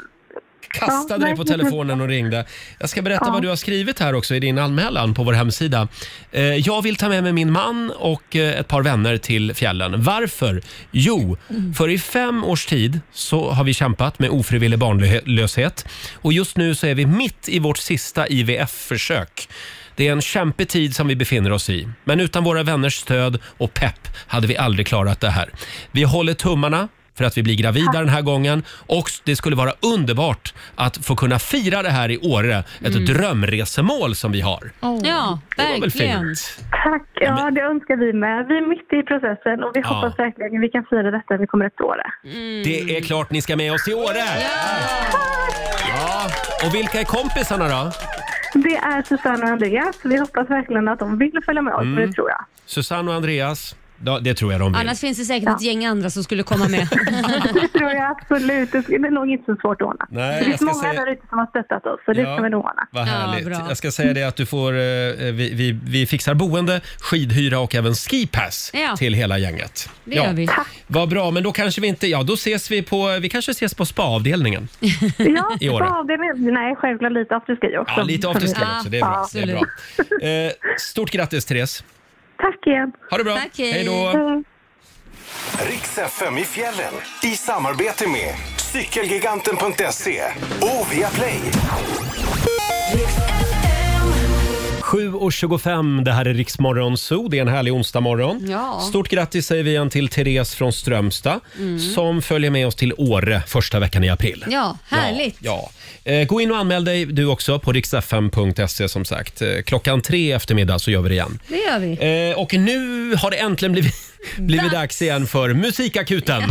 A: kastade dig på telefonen och ringde. Jag ska berätta vad du har skrivit här också i din anmälan på vår hemsida. Eh, Jag vill ta med mig min man och eh, ett par vänner till fjällen. Varför? Jo, för i fem års tid så har vi kämpat med ofrivillig barnlöshet och just nu så är vi mitt i vårt sista IVF-försök. Det är en kämpig tid som vi befinner oss i. Men utan våra vänners stöd och pepp hade vi aldrig klarat det här. Vi håller tummarna för att vi blir gravida den här gången och det skulle vara underbart att få kunna fira det här i Åre, ett
B: Mm.
A: drömresemål som vi har.
C: Åh.
B: Ja,
A: Det var väl
B: verkligen.
A: fint?
E: Tack. Ja, det önskar vi med. Vi är mitt i processen och vi hoppas verkligen vi kan fira detta när vi kommer efter året.
B: Mm.
A: Det är klart ni ska med oss i Åre! Ja. Och vilka är kompisarna då?
E: Det är Susanne och Andreas. Vi hoppas verkligen att de vill följa med oss, för
A: Mm.
E: det tror jag.
A: Susanne och Andreas? Ja, det tror jag de vill.
B: Annars finns det säkert ett gäng andra som skulle
A: [LAUGHS]
B: komma med.
E: Det tror jag absolut. Det är nog inte så svårt att ordna.
A: Nej,
E: det
A: jag
E: finns
A: ska
E: många
A: säga-
E: där ute som har stöttat oss, så det
A: Ja.
E: ska vi nog ordna.
A: Vad
B: Ja,
A: härligt.
B: bra.
A: jag ska säga det att du får, eh, vi, vi, vi fixar boende, skidhyra och även skipass
B: Ja.
A: till hela gänget.
B: Det gör vi.
A: Vad bra, men då kanske vi inte, ja då ses vi på, vi kanske ses på spaavdelningen.
E: Ja,
A: [LAUGHS] I år.
E: ja det är, nej, självklart lite afterski också.
A: Ja, lite afterski
B: Ja,
A: också, det är bra. Det är bra. Eh, stort grattis Therese.
E: Tack igen.
A: Ha det bra.
B: Tack, hej.
A: hej då.
D: Riks FM i fjällen i samarbete med cykelgiganten.se E och Viaplay.
A: 7.25, det här är Riksmorgon Zoo. Det är en härlig onsdagmorgon.
B: Ja. Mm.
A: Stort grattis säger vi igen till Therese från Strömstad som följer med oss till Åre första veckan i april.
B: Ja, härligt.
A: Ja, ja. Eh, Gå in och anmäl dig du också på riksfm.se som sagt. Eh, Klockan tre i eftermiddag så gör vi det igen.
B: Det gör vi.
A: Eh, Och nu har det äntligen blivit, [LAUGHS] blivit dags igen för Musikakuten.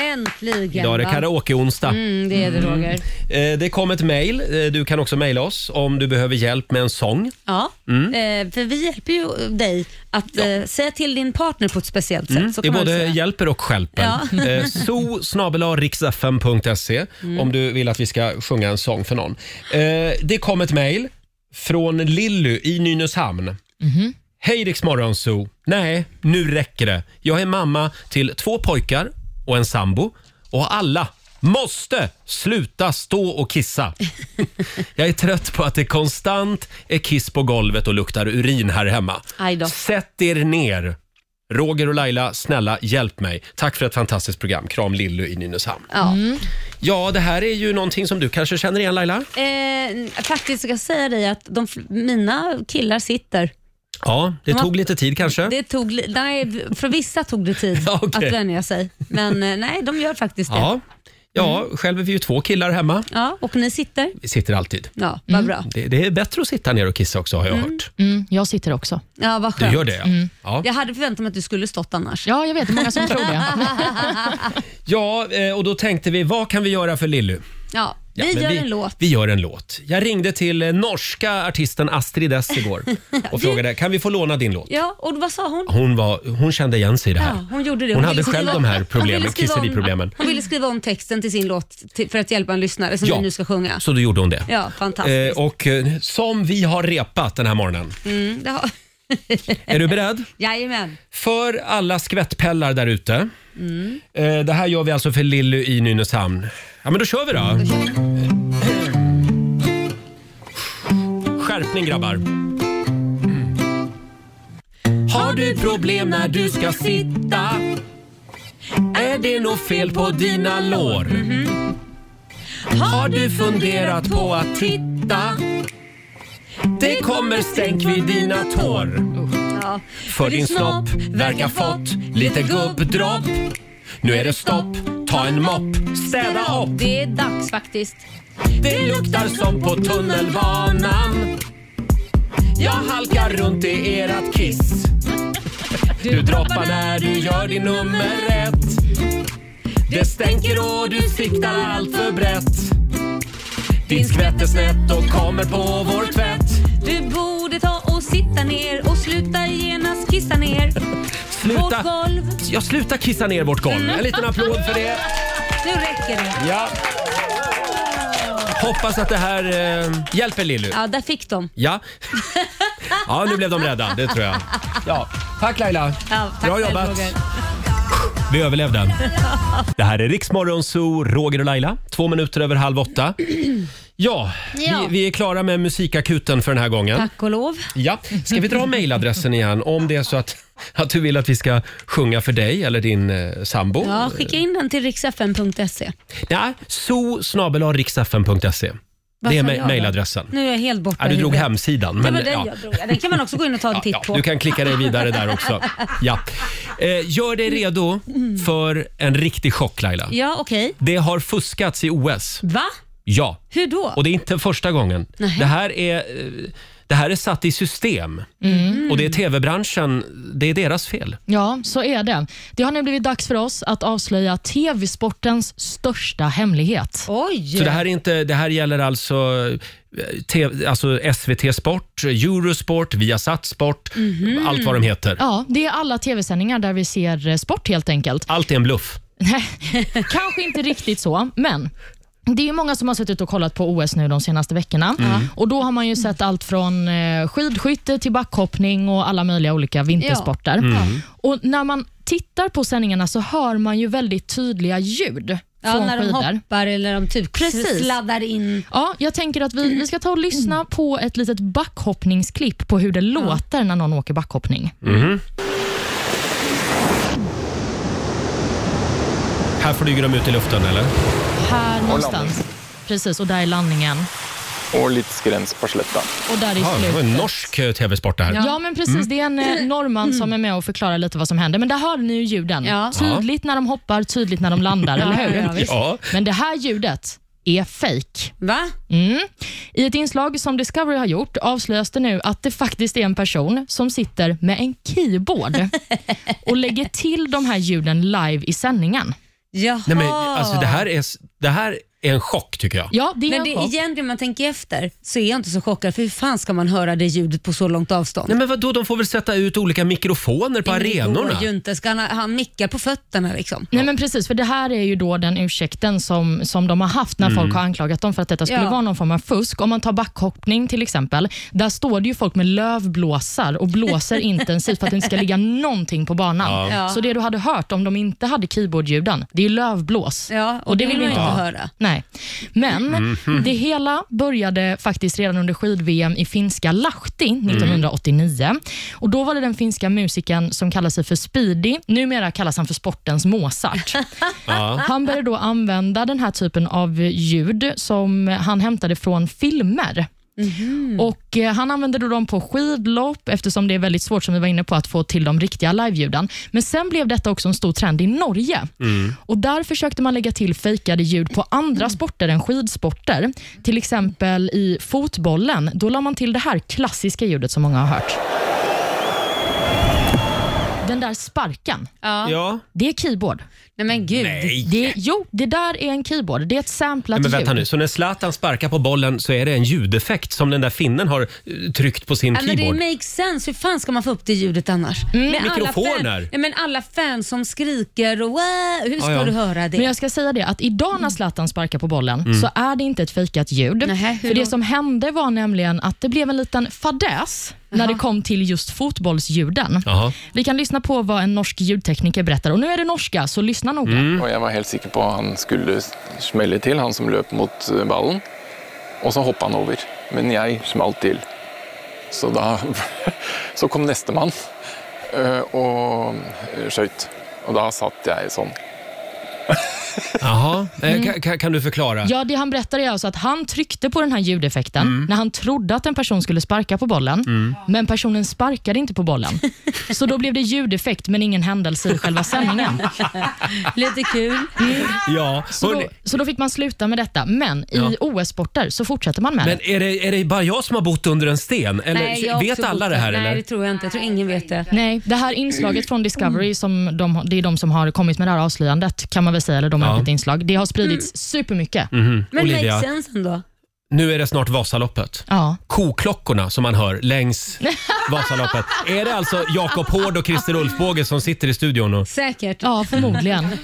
B: Äntligen.
A: Idag är det
B: va?
A: karaoke-onsdag.
B: Mm, det är det Roger.
A: Eh, Det kom ett mejl. Eh, Du kan också mejla oss om du behöver hjälp med en sång.
B: Ja,
A: Mm.
B: eh, för vi hjälper ju dig att eh, säga till din partner på ett speciellt sätt. Så
A: Mm. Det
B: kan man väl
A: både
B: säga.
A: hjälper och stjälper.
B: Ja. Mm.
A: Ja. so riksfm.se om du vill att vi ska sjunga en sång för någon. Eh, Det kom ett mejl från Lilly i Nynäshamn. Hej Rix Morgon Zoo. Nej, nu räcker det. Jag är mamma till två pojkar och en sambo och alla måste sluta stå och
B: [LAUGHS]
A: kissa. Jag är trött på att det konstant är kiss på golvet och luktar urin här hemma.
B: Aj då.
A: Sätt er ner. Roger och Laila, snälla hjälp mig. Tack för ett fantastiskt program. Kram Lillu i Nynäshamn.
B: Ja.
A: Mm. Ja, det här är ju någonting som du kanske känner igen Laila?
B: Eh, faktiskt ska jag säga dig att de, fl- mina killar sitter.
A: Ja, det
B: har-
A: tog lite tid kanske.
B: Det tog, li- nej, för vissa tog det tid
A: [LAUGHS] Ja, okej.
B: att vänja sig, men eh, nej, de gör faktiskt det.
A: Ja.
B: Ja.
A: Ja,
B: Mm.
A: själv är vi ju två killar hemma.
B: och ni sitter?
A: Vi sitter alltid.
B: Ja, vad bra.
A: Det, det är bättre att sitta ner och kissa också har jag hört.
C: Mm, jag sitter också.
B: Ja, vad
A: Du
B: skönt. Mm.
A: gör det ja. Ja,
B: Jag hade förväntat mig att du skulle stått annars.
C: Ja, jag vet. Det är många som tror det.
A: ja eh, och då tänkte vi, vad kan vi göra för Lillu?
B: Ja,
A: Ja,
B: vi
A: men
B: gör en låt.
A: Vi gör en låt. Jag ringde till eh, norska artisten Astrid S
B: [LAUGHS]
A: igår och frågade, kan vi få låna din låt?
B: Ja, och vad sa hon?
A: Hon, var, hon kände igen sig i det här.
B: Ja, hon gjorde det.
A: Hon hade
B: ville
A: själv
B: skriva-
A: de här problemen,
B: hon ville skriva om-
A: kisseriproblemen.
B: Hon ville skriva om texten till sin låt till, för att hjälpa en lyssnare som
A: Ja.
B: vi nu ska sjunga.
A: Så då gjorde hon det.
B: Ja,
A: Eh,
B: fantastiskt.
A: och eh, som vi har repat den här morgonen.
B: Mm, det har... [LAUGHS]
A: Är du beredd?
B: Jajamän.
A: För alla skvättpellar där ute. Eh, det här gör vi alltså för Lilly i Nynäshamn. Ja, men då kör vi då. Skärpning grabbar. Har du problem när du ska sitta? Är det något fel på dina lår? Har du funderat på att titta? Det kommer stänk vid dina tår.
B: Ja.
A: För din snopp verkar fått lite gubbdropp Nu är det stopp, ta en mopp, städa upp
B: Det är dags faktiskt.
A: Det luktar som på tunnelbanan Jag halkar runt i erat kiss Du droppar när du gör din nummer ett Det stänker och du siktar allt för brett Din skvätt är snett och kommer på vår tvätt
B: Du borde ta och sitta ner och sluta genast kissa ner. Vårt
A: [LAUGHS] Sluta,
B: golv.
A: jag slutar kissa ner vårt golv. En liten applåd för det.
B: Nu räcker det.
A: Ja. Hoppas att det här eh, hjälper Lilly.
B: Ja, där fick de. [LAUGHS]
A: Ja. ja, nu blev de rädda. Det tror jag. Ja. Tack Laila.
B: Ja, tack
A: Bra
B: själv,
A: jobbat.
B: Roger.
A: Vi överlevde. Det här är Riksmorgon Zoo, Roger och Laila. Två minuter över halv åtta. Ja,
B: Ja.
A: Vi, vi är klara med musikakuten för den här gången.
B: Tack och lov.
A: Ja. Ska vi dra mailadressen igen om det är så att, att du vill att vi ska sjunga för dig eller din eh, sambo?
B: Ja, skicka in den till riksfn.se.
A: Nej, zoo.riksfn.se. Det är
B: Varför
A: ma-
B: jag då?
A: mailadressen.
B: Nu är jag helt borta.
A: Ja, du
B: i
A: drog
B: huvudet.
A: hemsidan.
B: Det
A: Men,
B: var den
A: ja.
B: jag drog. Ja, Den kan man också gå in och ta en titt
A: Ja,
B: på.
A: du kan klicka dig vidare där
B: [LAUGHS]
A: också. Ja. Eh, gör dig redo för en riktig chock Laila.
B: Ja, okej.
A: Det har fuskats i OS.
B: Va?
A: Ja,
B: Hur då?
A: och det är inte första gången.
B: Nej.
A: Det här, är, eh, det här är satt i system
B: Mm.
A: och det är tv-branschen, det är deras fel.
C: Ja, så är det. Det har nu blivit dags för oss att avslöja TV-sportens största hemlighet.
B: Oj!
A: Så det här, är inte, det här gäller alltså, eh, TV, alltså SVT Sport, Eurosport, Viasat Sport,
B: Mhm.
A: allt vad de heter.
C: Ja, det är alla TV-sändningar där vi ser eh, sport helt
B: [LAUGHS]
C: enkelt.
A: Allt är en bluff.
C: Nej, kanske inte riktigt så, men det är ju många som har suttit och kollat på OS nu de senaste veckorna.
B: Mm.
C: Och Då har man ju sett allt från eh, skidskytte till backhoppning och alla möjliga olika vintersporter.
B: Mm.
C: Och När man tittar på sändningarna så hör man ju väldigt tydliga ljud
B: ja,
C: från
B: när de
C: skidor.
B: hoppar eller de typ
C: Precis.
B: sladdar in.
C: Ja, jag tänker att vi, vi ska ta och lyssna på ett litet backhoppningsklipp på hur det låter när någon åker backhoppning.
A: Här flyger de ut i luften eller?
C: Här någonstans. Precis, och där är landningen.
F: Och lite skräns på sluttan.
C: Och där är
A: Ja, det var en
C: slutet.
A: norsk eh, tv-sport det här.
C: Ja, men precis. Det är en
B: Mm.
C: eh, norrman som är med och förklarar lite vad som händer. Men där hör ni ju ljuden.
B: Ja.
C: Tydligt när de hoppar, tydligt när de landar, eller hur?
B: ja, visst.
A: Ja.
C: Men det här ljudet är fake.
B: Va?
C: Mm. I ett inslag som Discovery har gjort avslöjas det nu att det faktiskt är en person som sitter med en keyboard
B: [LAUGHS]
C: och lägger till de här ljuden live i sändningen.
B: Jaha.
A: Nej, men, alltså, det, här är, s- det här är en chock tycker jag.
C: Ja, det är
B: Men
C: en
B: det,
C: chock.
B: egentligen man tänker efter så är jag inte så chockad för hur fan ska man höra det ljudet på så långt avstånd?
A: Nej men vadå, de får väl sätta ut olika mikrofoner på
B: Men det
A: arenorna?
B: går ju inte. Ska han, han nickar på fötterna liksom.
C: Nej men precis, för det här är ju då den ursäkten som, som de har haft när folk har anklagat dem för att detta skulle
B: Ja.
C: vara någon form av fusk. Om man tar backhoppning till exempel, där står det ju folk med lövblåsar och
B: [LAUGHS]
C: blåser intensivt för att det inte ska ligga någonting på banan.
B: Ja.
C: Så det du hade hört om de inte hade keyboardljuden, det är ju lövblås.
B: Ja, och, det vill man ju inte höra.
C: Nej. Men det hela började faktiskt redan under skid-VM i finska Lahti 1989. Och Då var det den finska musikern som kallar sig för Speedy. Numera kallas han för sportens Mozart.
A: Ja.
C: Han började då använda den här typen av ljud som han hämtade från filmer.
A: Mm.
C: Och eh, Han använde då dem på skidlopp eftersom det är väldigt svårt som vi var inne på att få till de riktiga liveljuden. Men sen blev detta också en stor trend i Norge.
A: Mm.
C: Och Där försökte man lägga till fejkade ljud på andra sporter än skidsporter. Till exempel i fotbollen. Då la man till det här klassiska ljudet som många har hört. Den där sparken,
B: Ja.
A: Ja.
C: det är keyboard.
B: Nej men gud.
C: Det, jo, det där är en keyboard. Det är ett samplat
A: Men
C: ljud.
A: vänta nu, så när Zlatan sparkar på bollen så är det en ljudeffekt som den där finnen har eh, tryckt på sin
B: Ja, men det
A: keyboard?
B: makes sense. Hur fan ska man få upp det ljudet annars?
C: Mm.
B: Med Alla
A: Mikrofoner.
B: fan, ja, men alla fans som skriker och "Wah", hur ska
A: Ja, ja.
B: du höra det?
C: Men jag ska säga det att idag när Zlatan sparkar på bollen
A: Mm.
C: så är det inte ett fejkat ljud.
B: Nähä, hur
C: För det
B: då?
C: som hände var nämligen att det blev en liten fadäs när det kom till just fotbollsljuden.
A: Jaha.
C: Vi kan lyssna på vad en norsk ljudtekniker berättar. Och nu är det norska, så lyssna noga.
A: Mm.
F: Og jeg var helt sikker på at han skulle smelle til, han som løp mot eh, ballen. Og så hoppa han over. Men jeg smalt til. Så da [LAUGHS] Så kom nestemann eh, og eh, skøyt. Og da satt jeg sånn.
A: Jaha. Eh,
B: Mm.
A: ka- ka- kan du förklara?
C: Ja, det han berättar är alltså att han tryckte på den här ljudeffekten
A: Mm.
C: när han trodde att en person skulle sparka på bollen, men personen sparkade inte på bollen. Så då blev det ljudeffekt, men ingen händelse i själva sändningen.
B: Lite kul.
A: Ja,
C: Så då,
A: hörni,
C: så då fick man sluta med detta, men
A: Ja.
C: i OS-sporter så fortsätter man med
A: men
C: det.
A: är det, är det bara jag som har bott under en sten? [LAUGHS] Eller
B: jag har
A: vet
B: också
A: alla
B: bott
A: det här
B: där. Nej,
A: eller?
B: det tror jag inte. Jag tror ingen vet det.
C: Nej, det här inslaget från Discovery, som de, det är de som har kommit med det här avslöjandet, kan man väl säga, eller de har
A: Ja.
C: gjort ett inslag. Det har spridits supermycket.
B: Men
A: Olivia.
B: makes sense ändå.
A: Nu är det snart Vasaloppet.
C: Ja.
A: Koklockorna som man hör
B: [LAUGHS]
A: längs Vasaloppet. Är det alltså Jakob Hård och Christer Ulfbåge som sitter i studion? Och,
B: Säkert.
C: ja, förmodligen.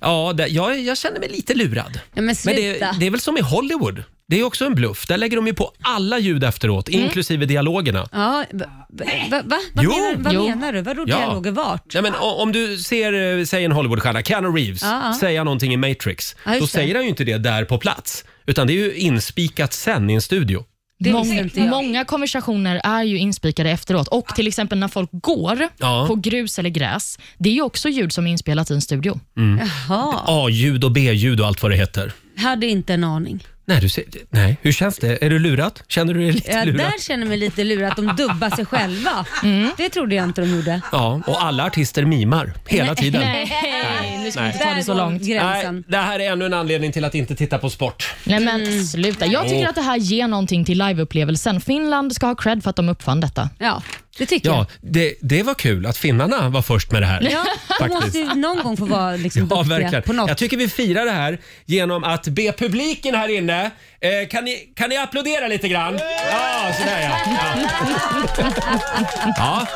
A: ja, det, jag, jag känner mig lite lurad.
B: Ja, men
A: Men
B: sluta.
A: det, det är väl som i Hollywood? Det är också en bluff. Där lägger de ju på alla ljud efteråt,
B: Mm.
A: inklusive dialogerna.
B: Ja, va, va, va, va? Vad,
A: Jo.
B: menar, vad
C: Jo.
B: menar du? Vadå
A: Ja.
B: dialoger vart?
A: Nej, men o- om du ser, eh, säg en Hollywoodstjärna, Keanu Reeves,
B: Ja, ja.
A: säga någonting i Matrix.
B: Ja, just
A: då
B: det.
A: säger han ju inte det där på plats. Utan det är ju inspikat sen i en studio.
B: Det visste
C: Många,
B: inte jag.
C: många konversationer är ju inspikade efteråt och till exempel när folk går
A: Ja.
C: på grus eller gräs. Det är ju också ljud som är inspelat i en studio.
B: Jaha,
A: A-ljud och B-ljud och allt vad det heter.
B: hade inte en aning.
A: Nej, du ser, nej, hur känns det? Är du lurad? Känner du dig lite
B: Ja,
A: lurad?
B: där känner jag mig lite lurad att de dubbar sig själva.
C: Mm.
B: Det trodde jag inte de gjorde.
A: Ja, och alla artister mimar hela tiden.
C: Nej, nu ska vi inte ta
B: Där
C: det så
B: går
C: långt.
A: Nej,
B: gränsen.
A: det här är ännu en anledning till att inte titta på sport.
C: Nej men sluta. Jag tycker
A: Jo.
C: att det här ger någonting till liveupplevelsen. Finland ska ha cred för att de uppfann detta.
B: Ja, det tycker
A: Ja, det, det var kul att finnarna var först med det här.
B: jag.
A: [LAUGHS]
B: Ja, de måste ju någon gång få vara liksom
A: Ja,
B: duktiga
A: verkligen.
B: på något.
A: Jag tycker vi firar det här genom att be publiken här inne, eh, kan, ni, kan ni applådera lite grann? Ja, sådär
B: [LAUGHS]
A: ja. ja. Ja,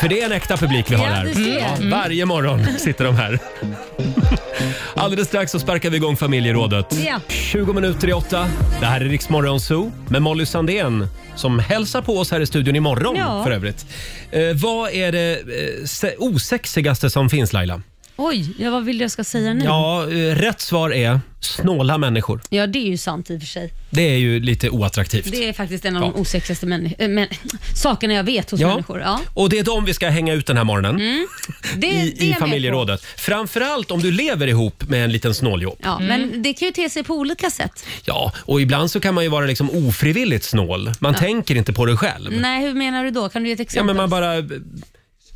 A: för det är en äkta publik vi har
B: Ja,
A: här. Mm.
B: du ser. Mm.
A: varje morgon sitter de här. [LAUGHS] Alldeles strax så sparkar vi igång familjerådet.
B: Ja.
A: 20 minuter i åtta. Det här är Riksmorgon Zoo med Molly Sandén som hälsar på oss här i studion imorgon
B: Ja.
A: för övrigt. Eh, vad är det eh, se- osexigaste som finns Laila?
B: Oj, ja, vad vill jag ska säga nu? Ja.
A: Ja, eh, rätt svar är snåla människor.
B: det är ju sant i och för sig.
A: Det är ju lite oattraktivt.
B: Det är faktiskt en av
A: Ja.
B: de osexigaste männi- äh, men, sakerna jag vet hos människor. Ja,
A: Och det är dem vi ska hänga ut den här morgonen
B: Mm, det, det är jag
A: i, i
B: med på.
A: familjerådet. Framförallt om du lever ihop med en liten snåljåp.
B: Ja, Men det kan ju te sig på olika sätt.
A: Ja, och ibland så kan man ju vara liksom ofrivilligt snål. Man tänker inte på det själv.
B: Nej, hur menar du då? Kan du ge ett
A: Mm.
B: exempel?
A: Ja, men man bara...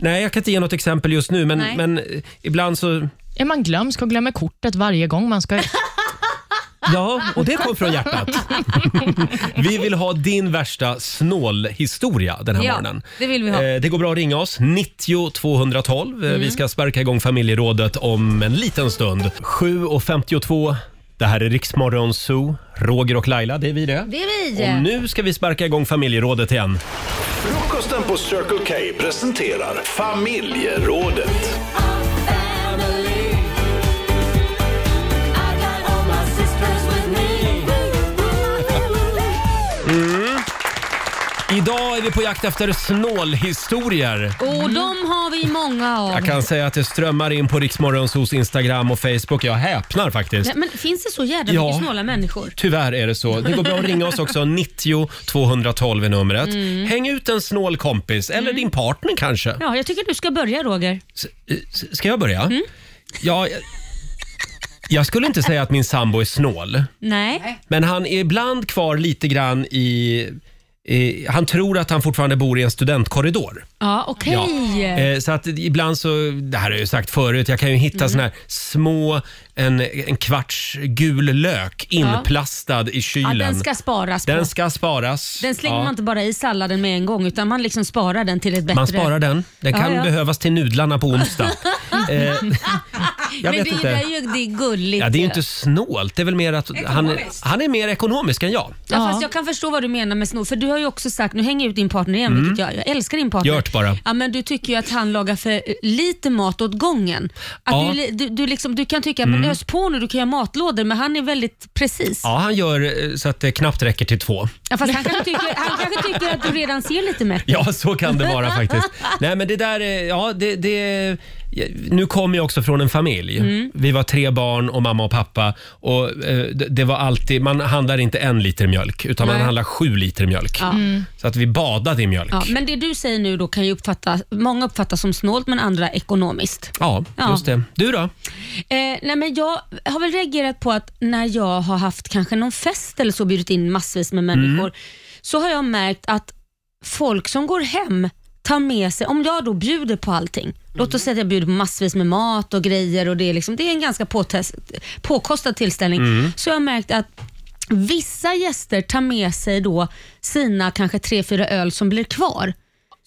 A: Nej, jag kan inte ge något exempel just nu, men,
B: Nej.
A: men eh, ibland så...
C: Är man glömsk och glömmer kortet varje gång man ska ut?
A: Ja, och det kom från hjärtat. vi vill ha din värsta snålhistoria den här
B: Ja,
A: morgonen.
B: det vill vi ha. Mm.
A: Eh, Det går bra att ringa oss, 90 212. Eh, Vi ska sparka igång familjerådet om en liten stund. 7.52, det här är Riksmorgon Zoo. Roger och Laila, det är vi det.
B: Det är vi.
A: Och nu ska vi sparka igång familjerådet igen.
D: Frukosten på Circle K presenterar Familjerådet.
A: Idag är vi på jakt efter snålhistorier.
B: Och de har vi många av.
A: Jag kan säga att det strömmar in på Riksmorgonsos Instagram och Facebook. Jag häpnar faktiskt.
B: Nej, men finns det så jävla
A: Ja.
B: mycket snåla människor?
A: Tyvärr är det så. Det går bra att ringa oss
B: [LAUGHS]
A: också. 90 212 är numret.
B: Mm.
A: Häng ut en snål kompis, eller din partner kanske.
B: Ja, jag tycker du ska börja Roger.
A: S- eh, s- Ska jag börja?
B: Mm.
A: Ja, jag- jag skulle inte säga att min sambo är snål,
B: Nej.
A: men han är ibland kvar lite grann i... i han tror att han fortfarande bor i en studentkorridor.
B: Ja, okej.
A: Ja. Eh, så att ibland så, det här har jag ju sagt förut, jag kan ju hitta
B: Mm.
A: såna här små, en, en kvarts gul lök inplastad i
B: Ja,
A: kylen.
B: den ska sparas på.
A: Den ska sparas.
B: Den slänger
A: Ja.
B: man inte bara i salladen med en gång utan man liksom sparar den till ett bättre...
A: Man sparar den. Den kan
B: Ja, ja.
A: behövas till nudlarna på
B: [LAUGHS]
A: onsdag. eh, jag
B: Men
A: vet
B: det,
A: inte.
B: Det är ju det är gulligt.
A: Ja, det är ju inte snålt. Det är väl mer att han, han är mer ekonomisk än jag.
B: Ja,
C: Ja.
B: fast jag kan förstå vad du menar med snor. För du har ju också sagt, nu hänger jag ut din partner igen, vilket jag, jag älskar din partner.
A: Mm. Gört bara.
B: Ja, men du tycker ju att han lagar för eh, lite mat åt gången. Att
A: Ja. Mm.
B: du, li- du, du, liksom, du kan tycka, men ös på nu, du kan göra matlådor, men han är väldigt precis. Ja.
A: Ja, han gör eh, så att det knappt räcker till två.
B: fast han kanske, tycker, han kanske tycker att du redan ser lite mätt ut.
A: Ja, så kan det vara
B: [LAUGHS]
A: faktiskt. Nej, men det där är- ja, det, det, Nu kommer jag också från en familj.
B: Mm.
A: Vi var tre barn och mamma och pappa. Och eh, det, det var alltid, man handlar inte en liter mjölk, utan man
B: Nej.
A: handlar sju liter mjölk.
B: Ja. Mm.
A: Så att vi badade i mjölk.
B: Ja, men det du säger nu då kan ju uppfatta, många uppfatta som snålt men andra ekonomiskt.
A: Ja,
B: Ja.
A: just det. Du då?
B: Eh, nej men jag har väl reagerat på att när jag har haft kanske någon fest eller så bjudit in massvis med människor så har jag märkt att folk som går hem tar med sig, om jag då bjuder på allting, låt oss säga att jag bjuder på massvis med mat och grejer och det är, liksom, det är en ganska påtest, påkostad tillställning, så jag har märkt att vissa gäster tar med sig då sina kanske tre, fyra öl som blir kvar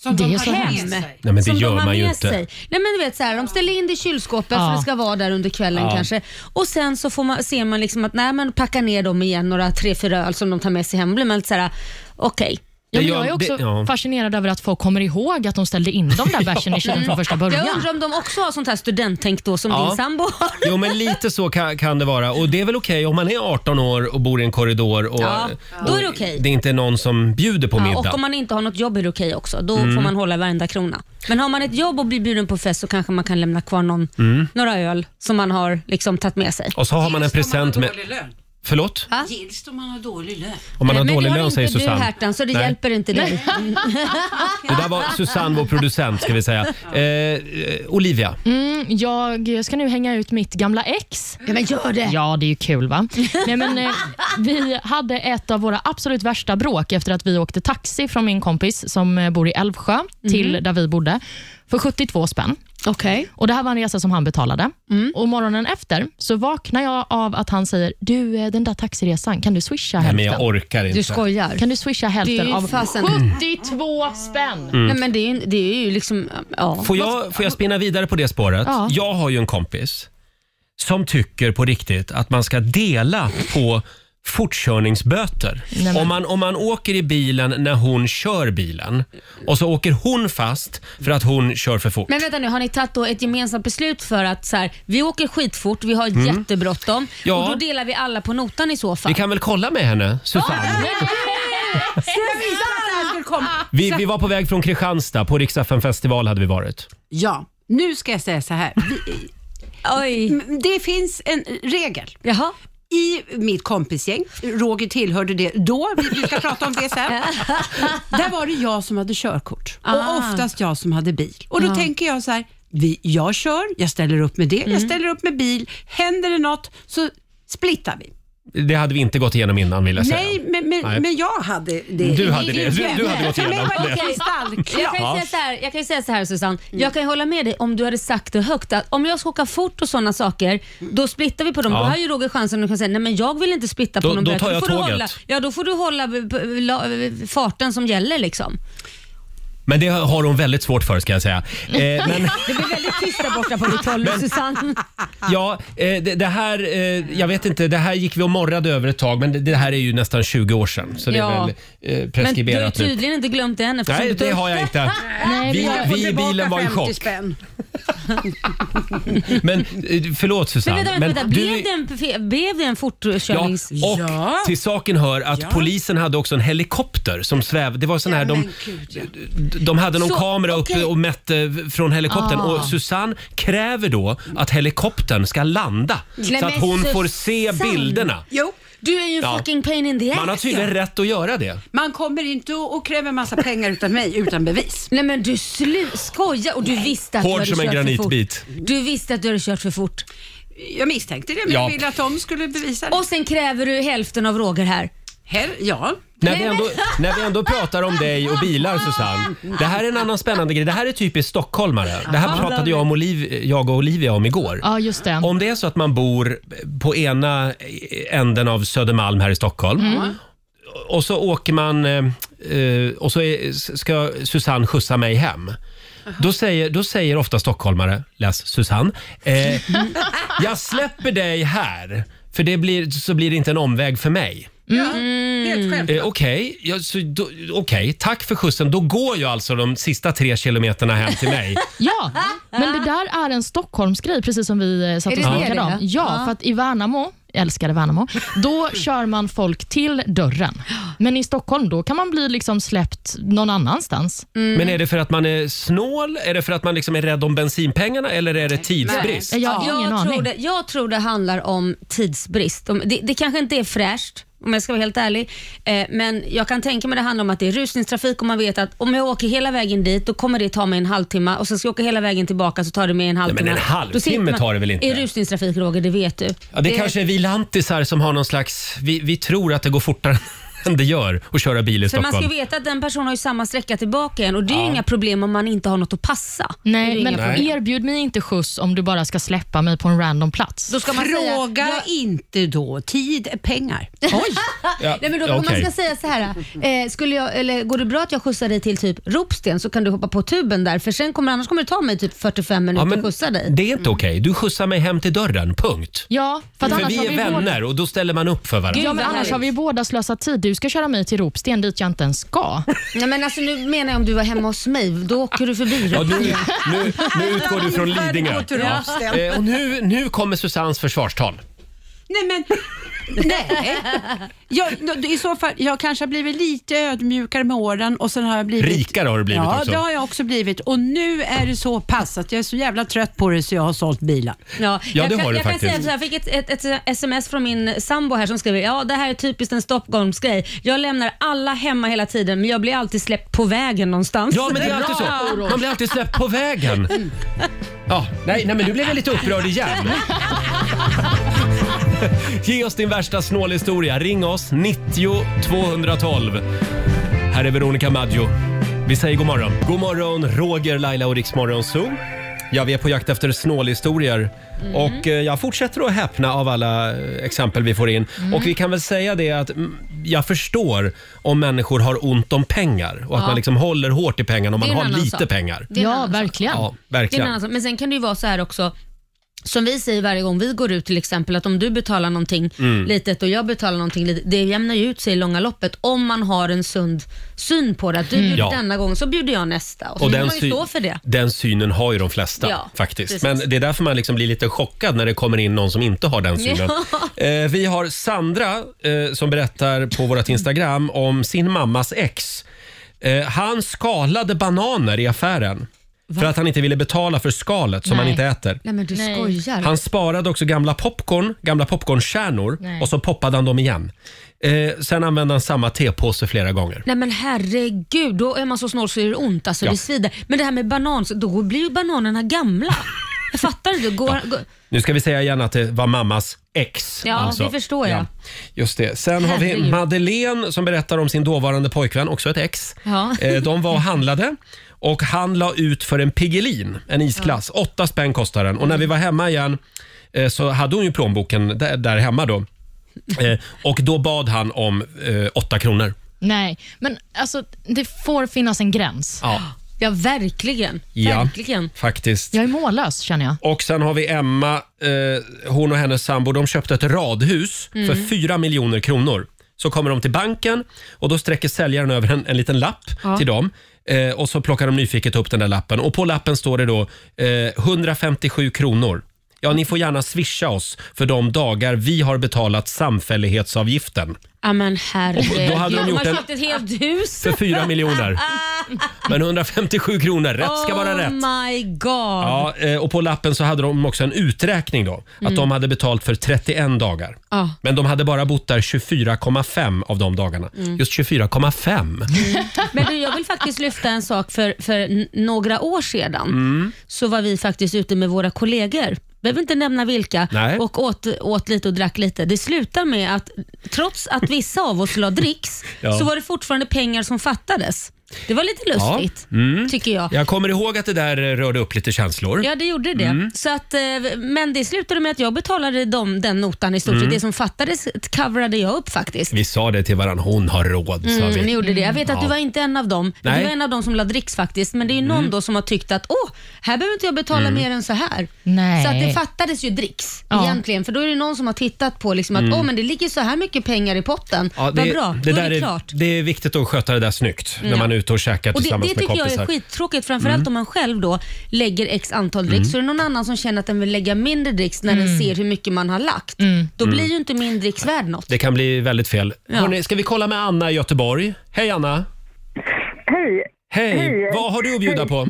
G: Som
C: Det
G: de
C: är
G: har
C: så
G: med
C: hemskt.
G: sig.
A: Nej, men det
B: som
A: gör
B: de har
A: man ju
B: med
A: inte.
B: sig. Nej, men du vet, så här, de ställer in det i kylskåpet för
C: Ja.
B: det ska vara där under kvällen
A: Ja.
B: kanske. Och Sen så får man, ser man liksom att nej, men packa ner dem igen, några tre, fyra öl som de tar med sig hem. Blir man lite så här, okej.
C: Ja,
A: Det
C: men
A: gör-
C: jag är också
A: det- ja.
C: fascinerad över att folk kommer ihåg att de ställde in de där bärsen i
B: [LAUGHS]
C: kylen från första början.
B: Jag undrar om de också har sånt här studenttänk då som
A: Ja.
B: din sambo har.
A: [LAUGHS] Jo, men lite så kan, kan det vara. Och det är väl okej om man är 18 år och bor i en korridor och,
B: Ja, då är det okej.
A: och det är inte någon som bjuder på
B: Ja,
A: middag. Mm.
B: och om man inte har något jobb är det okej också. Då får man hålla varenda krona. Men har man ett jobb och blir bjuden på fest så kanske man kan lämna kvar någon,
A: Mm.
B: några öl som man har liksom tagit med sig.
A: Och så har man en present med... Förlåt?
G: Gills om man har dålig lön.
A: Om man har
B: Nej, men det
A: dålig
B: har
A: lön
B: inte
A: säger
B: du,
A: Susanne.
B: Hertan, så det
A: Nej.
B: hjälper
C: [LAUGHS]
B: inte dig.
A: Det där var Susanne, vår producent, ska vi säga.
B: [LAUGHS]
A: Eh, eh, Olivia,
C: Mm, jag ska nu hänga ut mitt gamla ex.
B: Ja, men gör det.
C: Ja, det är ju kul va? Nej, men,
B: [LAUGHS]
C: eh, vi hade ett av våra absolut värsta bråk efter att vi åkte taxi från min kompis som eh, bor i Älvsjö till
B: Mm.
C: där vi bodde för 72 spänn.
B: Okej.
C: Och Det här var en resa som han betalade.
B: Mm.
C: Och Morgonen efter så vaknar jag av att han säger Du, eh, den där taxiresan, kan du swisha
A: men
C: hälften?
A: jag orkar inte.
B: Mm. Du skojar?
C: Kan du swisha
B: Det är
C: hälften
B: ju
C: av
B: fasen-
C: 72 spänn?
A: Mm.
B: Nej, men det är, ju- det är ju liksom... Ja.
A: Får jag, får jag spinna vidare på det spåret?
C: Ja.
A: Jag har ju en kompis som tycker på riktigt att man ska dela på fortkörningsböter.
C: men-
A: Om man, om man åker i bilen när hon kör bilen och så åker hon fast för att hon kör för fort.
B: Men vänta nu, har ni tagit då ett gemensamt beslut för att så här, vi åker skitfort, vi har jättebråttom
A: Mm. Ja.
B: och då delar vi alla på notan i så fall?
A: Vi kan väl kolla med henne, Susanne? Vi, vi var på väg från Kristianstad, på Rix festival hade vi varit.
G: Ja, nu ska jag säga så här. Vi-
B: Oj.
A: Mm.
G: m- Det finns en regel
B: Jaha.
G: i mitt kompisgäng. Roger tillhörde det då, vi vi ska prata om det sen. Där var det jag som hade körkort och
B: Ah.
G: oftast jag som hade bil. Och då tänker jag så här, vi, jag kör, jag ställer upp med det, jag ställer upp med bil. Händer det något så splittar vi.
A: Det hade vi inte gått igenom innan vill jag säga.
G: Nej, men, men,
A: Nej.
G: men jag hade det.
A: Du hade det. Du, du hade gått
G: För mig
A: igenom
G: var det
A: det. [LAUGHS] Mm.
G: kristallklart.
B: Jag kan, ju säga så här, jag kan ju säga så här Susanne, jag kan ju hålla med dig om du hade sagt det högt att om jag ska åka fort och sådana saker, då splittar vi på dem.
A: Ja.
B: Då har ju Roger chansen att kunna säga nej men jag vill inte splitta på
A: Då-
B: någon
A: då
B: böter."
A: tar jag
B: får du
A: tåget.
B: Hålla, ja då får du hålla b- b- la- farten som gäller liksom.
A: Men det har hon väldigt svårt för ska jag säga. Eh, men,
B: Det blir väldigt tyst där borta på ditt håll, Susanne. Ah.
A: ja, eh, det, det här, eh, jag vet inte, det här gick vi och morrade över ett tag men det, det här är ju nästan 20 år sedan. Så det
B: Ja.
A: är väl eh,
B: Men du har ju
A: preskriberat nu.
B: tydligen inte glömt det än. eftersom
A: Nej,
B: du tog
A: det
B: upp
A: har jag inte.
C: Nej,
A: Vi,
C: vi har...
A: vi i bilen var i chock.
G: Spänn.
A: Men eh, förlåt
B: Men
A: Susanne.
B: vänta, vänta, vänta.
A: du-
B: Blev, det en, fe- blev det en fortkörnings...
A: Ja, och till saken hör att polisen hade också en helikopter som svävde. Det var sån här, de, de hade någon
B: Så,
A: kamera uppe
B: okej.
A: och mätte från helikoptern
C: Ah.
A: och Susanne kräver då att helikoptern ska landa så att
B: men
A: hon får se
B: Susanne.
A: bilderna.
G: Jo,
B: Du är ju en
A: Ja.
B: fucking pain in the ass.
A: Man har tydligen rätt att göra det.
G: man kommer inte och och kräver massa pengar utan mig utan bevis.
B: Nej men du slu- skojar och du visste att
A: Hård
B: du hade
A: som en
B: kört
A: granitbit.
B: för fort. Du visste att du hade kört för fort.
G: Jag misstänkte det, men
A: Ja.
G: jag ville att de skulle bevisa det.
B: Och sen kräver du hälften av Roger här.
G: Här, ja.
A: När vi, ändå, när vi ändå pratar om dig och bilar Susanne. Det här är en annan spännande grej. Det här är typiskt stockholmare. Det här pratade jag, om Oliv, jag och Olivia om igår.
C: Ja, just det.
A: Om det är så att man bor på ena änden av Södermalm här i Stockholm och så åker man eh, eh, och så är, ska Susanne skjutsa mig hem. Då säger, då säger ofta stockholmare, läs Susanne, eh, jag släpper dig här för det blir, så blir det inte en omväg för mig.
G: ja. Helt självklart.
A: Eh, Okej, ja, så då- okej, tack för skjutsen. Då går ju alltså de sista tre kilometerna hem till [LAUGHS] mig.
C: Ja, men det där är en Stockholmsgrej, precis som vi eh, satt
B: Är
C: och
B: det det
C: snackade
B: det
C: om.
B: är?
C: Ja, för att i Värnamo, jag älskade Värnamo, då kör man folk till dörren. Men i Stockholm, då kan man bli liksom släppt någon annanstans.
B: Mm.
A: Men är det för att man är snål? Är det för att man liksom är rädd om bensinpengarna? Eller är det tidsbrist?
C: Jag har ingen
B: jag, tror
C: aning.
B: det, jag tror det handlar om tidsbrist. Om- Det, det kanske inte är fräscht om jag ska vara helt ärlig. Eh, men jag kan tänka mig det handlar om att det är rusningstrafik och man vet att om jag åker hela vägen dit då kommer det ta mig en halvtimme och sen ska jag åka hela vägen tillbaka så tar det mig en halvtimme.
A: men en
B: Då
A: halvtimme
B: sitter man-
A: tar det väl inte?
B: I rusningstrafik Roger, det vet du.
A: Ja, det, kanske är vi lantisar som har någon slags... Vi, vi tror att det går fortare [LAUGHS] än det gör att köra bil i
B: För man
A: Stockholm.
B: ska ju veta att den personen har ju samma sträcka tillbaka igen och det är ju inga problem om man inte har något att passa. Det är
C: Nej,
B: ju
C: men
B: inga-
A: problem.
C: erbjud mig inte skjuts om du bara ska släppa mig på en random plats.
B: Då ska man säga,
G: Fråga
B: "Jag-
G: inte då. Tid är pengar.
B: [LAUGHS]
A: Ja,
B: Nej, men då,
A: ja,
B: Om man
A: okej.
B: ska säga så här, eh, skulle jag, eller går det bra att jag skjutsar dig till typ Ropsten så kan du hoppa på tuben där för sen kommer, annars kommer det ta mig typ 45 minuter
A: Ja,
B: att skjutsa dig.
A: det är inte okej. Du skjutsar mig hem till dörren, punkt.
C: Ja, för att
A: För
C: annars
A: vi
C: har
A: är
C: vi båda...
A: vänner och då ställer man upp för varandra.
C: Ja, men
B: Vad
C: annars har
B: härligt.
C: vi båda slösat tid. Du ska köra mig till Ropsten dit jag inte ens ska.
B: Nej, men alltså, nu menar jag om du var hemma hos mig, då åker du förbi
A: Ja, nu,
B: Ropsten.
A: nu, nu utgår du från Lidingö.
G: Ja.
A: Eh, och nu, nu kommer Susannes försvarstal.
G: Nej men, nej. Jag, I så fall, jag kanske har blivit lite ödmjukare med åren och sen har jag blivit...
A: Rikare har du blivit
G: ja,
A: också.
G: det har jag också blivit. Och nu är det så pass att jag är så jävla trött på det så jag har sålt bilen.
B: Ja,
A: Ja, det
B: jag, kan-
A: har du
B: jag
A: faktiskt.
B: Kan säga, så här, jag fick ett, ett, ett sms från min sambo här som skriver ja det här är typiskt en Stockholmsgrej. Jag lämnar alla hemma hela tiden men jag blir alltid släppt på vägen någonstans.
A: Ja, men det är alltid så. Man blir alltid släppt på vägen. Ja, nej, nej, men nu blev jag lite upprörd igen. Ge oss din värsta snålhistoria. Ring oss, 90 212. Här är Veronica Maggio. Vi säger god morgon. God morgon, Roger, Laila och Riksmorgon Zoo. Ja, vi är på jakt efter snålhistorier.
B: Mm.
A: Och eh, jag fortsätter att häpna av alla eh, exempel vi får in.
B: Mm.
A: Och vi kan väl säga det att mm, jag förstår om människor har ont om pengar och att man liksom håller hårt i pengarna om
B: Det
A: man
B: är en
A: har
B: annan
A: lite
B: sak.
A: pengar.
B: [LAUGHS] Det är en
C: Ja,
B: annan sak.
C: verkligen.
A: Ja,
B: Det är en
A: verkligen.
B: annan sak. Men alltså, sen kan det ju vara så här också, som vi säger varje gång vi går ut till exempel, att om du betalar någonting
A: Mm.
B: litet och jag betalar någonting litet, det jämnar ju ut sig i långa loppet om man har en sund syn på det. Att du bjuder
A: Mm. Ja.
B: denna gång så bjuder jag nästa och så får man ju
A: sy-
B: stå för det.
A: den synen har ju de flesta
B: Ja,
A: faktiskt.
B: precis.
A: Men det är därför man liksom blir lite chockad när det kommer in någon som inte har den synen. [LAUGHS] Eh, vi har Sandra eh, som berättar på vårt Instagram om sin mammas ex. Eh, han skalade bananer i affären för att han inte ville betala för skalet som
C: Nej.
A: han inte äter.
B: Nej men du
C: Nej.
B: skojar.
A: Han sparade också gamla popcorn, gamla popcornkärnor
C: Nej.
A: och så poppade han dem igen. Eh, sen använde han samma tepåse flera gånger.
B: Nej men herregud, då är man så snål så det gör ont. Alltså,
A: Ja.
B: det svider. Men det här med banan, så- då blir ju bananerna gamla. Jag fattar inte. Går, går,
A: Nu ska vi säga igen att det var mammas ex. alltså.
B: Ja, det förstår jag.
A: Just det. Sen har vi
B: Herregud.
A: Madeleine som berättar om sin dåvarande pojkvän, också ett ex.
B: Ja.
A: Eh, De
B: [LAUGHS]
A: var och handlade och han la ut för en Piggelin, en isglass. Åtta spänn kostar den. Och när vi var hemma igen eh, så hade hon ju plånboken där, där hemma då. Eh, Och då bad han om eh, åtta kronor.
B: [GASPS]
C: Nej, men alltså, det får finnas en gräns.
A: Ja.
B: Ja, verkligen.
A: Ja,
B: Verkligen.
A: faktiskt.
C: Jag är mållös känner jag.
A: Och sen har vi Emma, eh, hon och hennes sambo, de köpte ett radhus för 4 miljoner kronor. Så kommer de till banken och då sträcker säljaren över en, en liten lapp till dem. Eh, och så plockar de nyfiket upp den där lappen och på lappen står det då eh, 157 kronor. Ja, ni får gärna swisha oss för de dagar vi har betalat samfällighetsavgiften.
B: Ja, men herregud.
A: då hade de gjort
B: man
A: en-
B: köpt ett helt hus.
A: För 4 miljoner. Men 157 kronor, rätt ska vara rätt.
B: Oh my god.
A: Ja, eh, och på lappen så hade de också en uträkning då. Att de hade betalt för 31 dagar.
B: Mm. Ja.
A: Men de hade bara bott där 24,5 av de dagarna.
B: Mm.
A: Just 24,5.
B: Men du, jag vill faktiskt lyfta en sak. För, för n- några år sedan
A: Mm.
B: så var vi faktiskt ute med våra kollegor, behöver inte nämna vilka,
A: Nej.
B: och åt, åt lite och drack lite. Det slutar med att trots att vissa av oss la dricks
A: [LAUGHS] Ja.
B: så var det fortfarande pengar som fattades. Det var lite lustigt,
A: Mm.
B: tycker jag.
A: Jag kommer ihåg att det där eh, rörde upp lite känslor.
B: Ja, det gjorde det.
A: Mm.
B: Så att, eh, men det slutade med att jag betalade dem, den notan i stort
A: Mm.
B: sett. Det som fattades coverade jag upp faktiskt.
A: Vi sa det till varandra, hon har råd. sa
B: Mm, ni
A: vi.
B: gjorde det. Jag vet att
A: Ja.
B: du var inte en av dem. Men
A: Nej. Mm.
B: Du var en av dem som la dricks faktiskt. Men det är ju någon då som har tyckt att åh, här behöver inte jag betala mer än så här.
C: Nej.
B: Så att det fattades ju dricks
C: Ja.
B: egentligen. För då är det någon som har tittat på liksom att åh, men det ligger så här mycket pengar i potten.
A: Mm. Ja,
B: Vad bra, då är det klart.
A: det är viktigt att sköta det där snyggt när man är ute och käkar
B: Och det, det
A: tillsammans
B: tycker
A: med kompisar. Mm.
B: jag är skittråkigt, framförallt om man själv då lägger x antal dricks. Så är det någon annan som känner att den vill lägga mindre dricks när
C: Mm.
B: den ser hur mycket man har lagt. Då
A: Mm.
B: blir ju inte min dricks värd något.
A: Det kan bli väldigt fel. Hörrni, ska vi kolla med Anna i Göteborg? Hej Anna!
E: Hej!
A: Hej!
E: Hej.
A: Vad har du att bjuda på?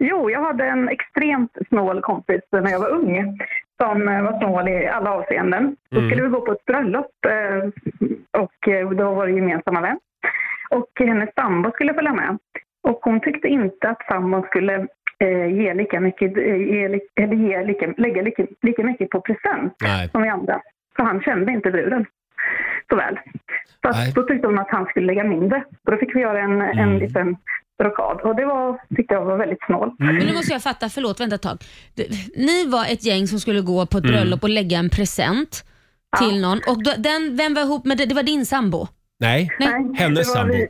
E: Jo, jag hade en extremt snål kompis när jag var ung som eh, var snål i alla avseenden. Då skulle vi gå på ett bröllop eh, och eh, då var det gemensamma vän. Och hennes sambo skulle följa med. Och hon tyckte inte att sambon skulle eh, ge lika mycket, eh, ge, li- eller ge lika, lägga lika, lika mycket på present
A: Nej.
E: som vi andra. Så han kände inte bruden så väl. Så
A: Nej. Mm.
E: att, då tyckte hon att han skulle lägga mindre. Och då fick vi göra en, en liten rockad. Och det var, tyckte jag var väldigt snål.
B: Men nu måste jag fatta, förlåt, vänta ett tag. Det- Ni var ett gäng som skulle gå på ett bröllop och lägga en present till någon. Och då, den, vem var ihop med det? Det var din sambo?
A: Nej.
E: Nej,
A: Hennes
E: det var vi-
A: sambo. Mm.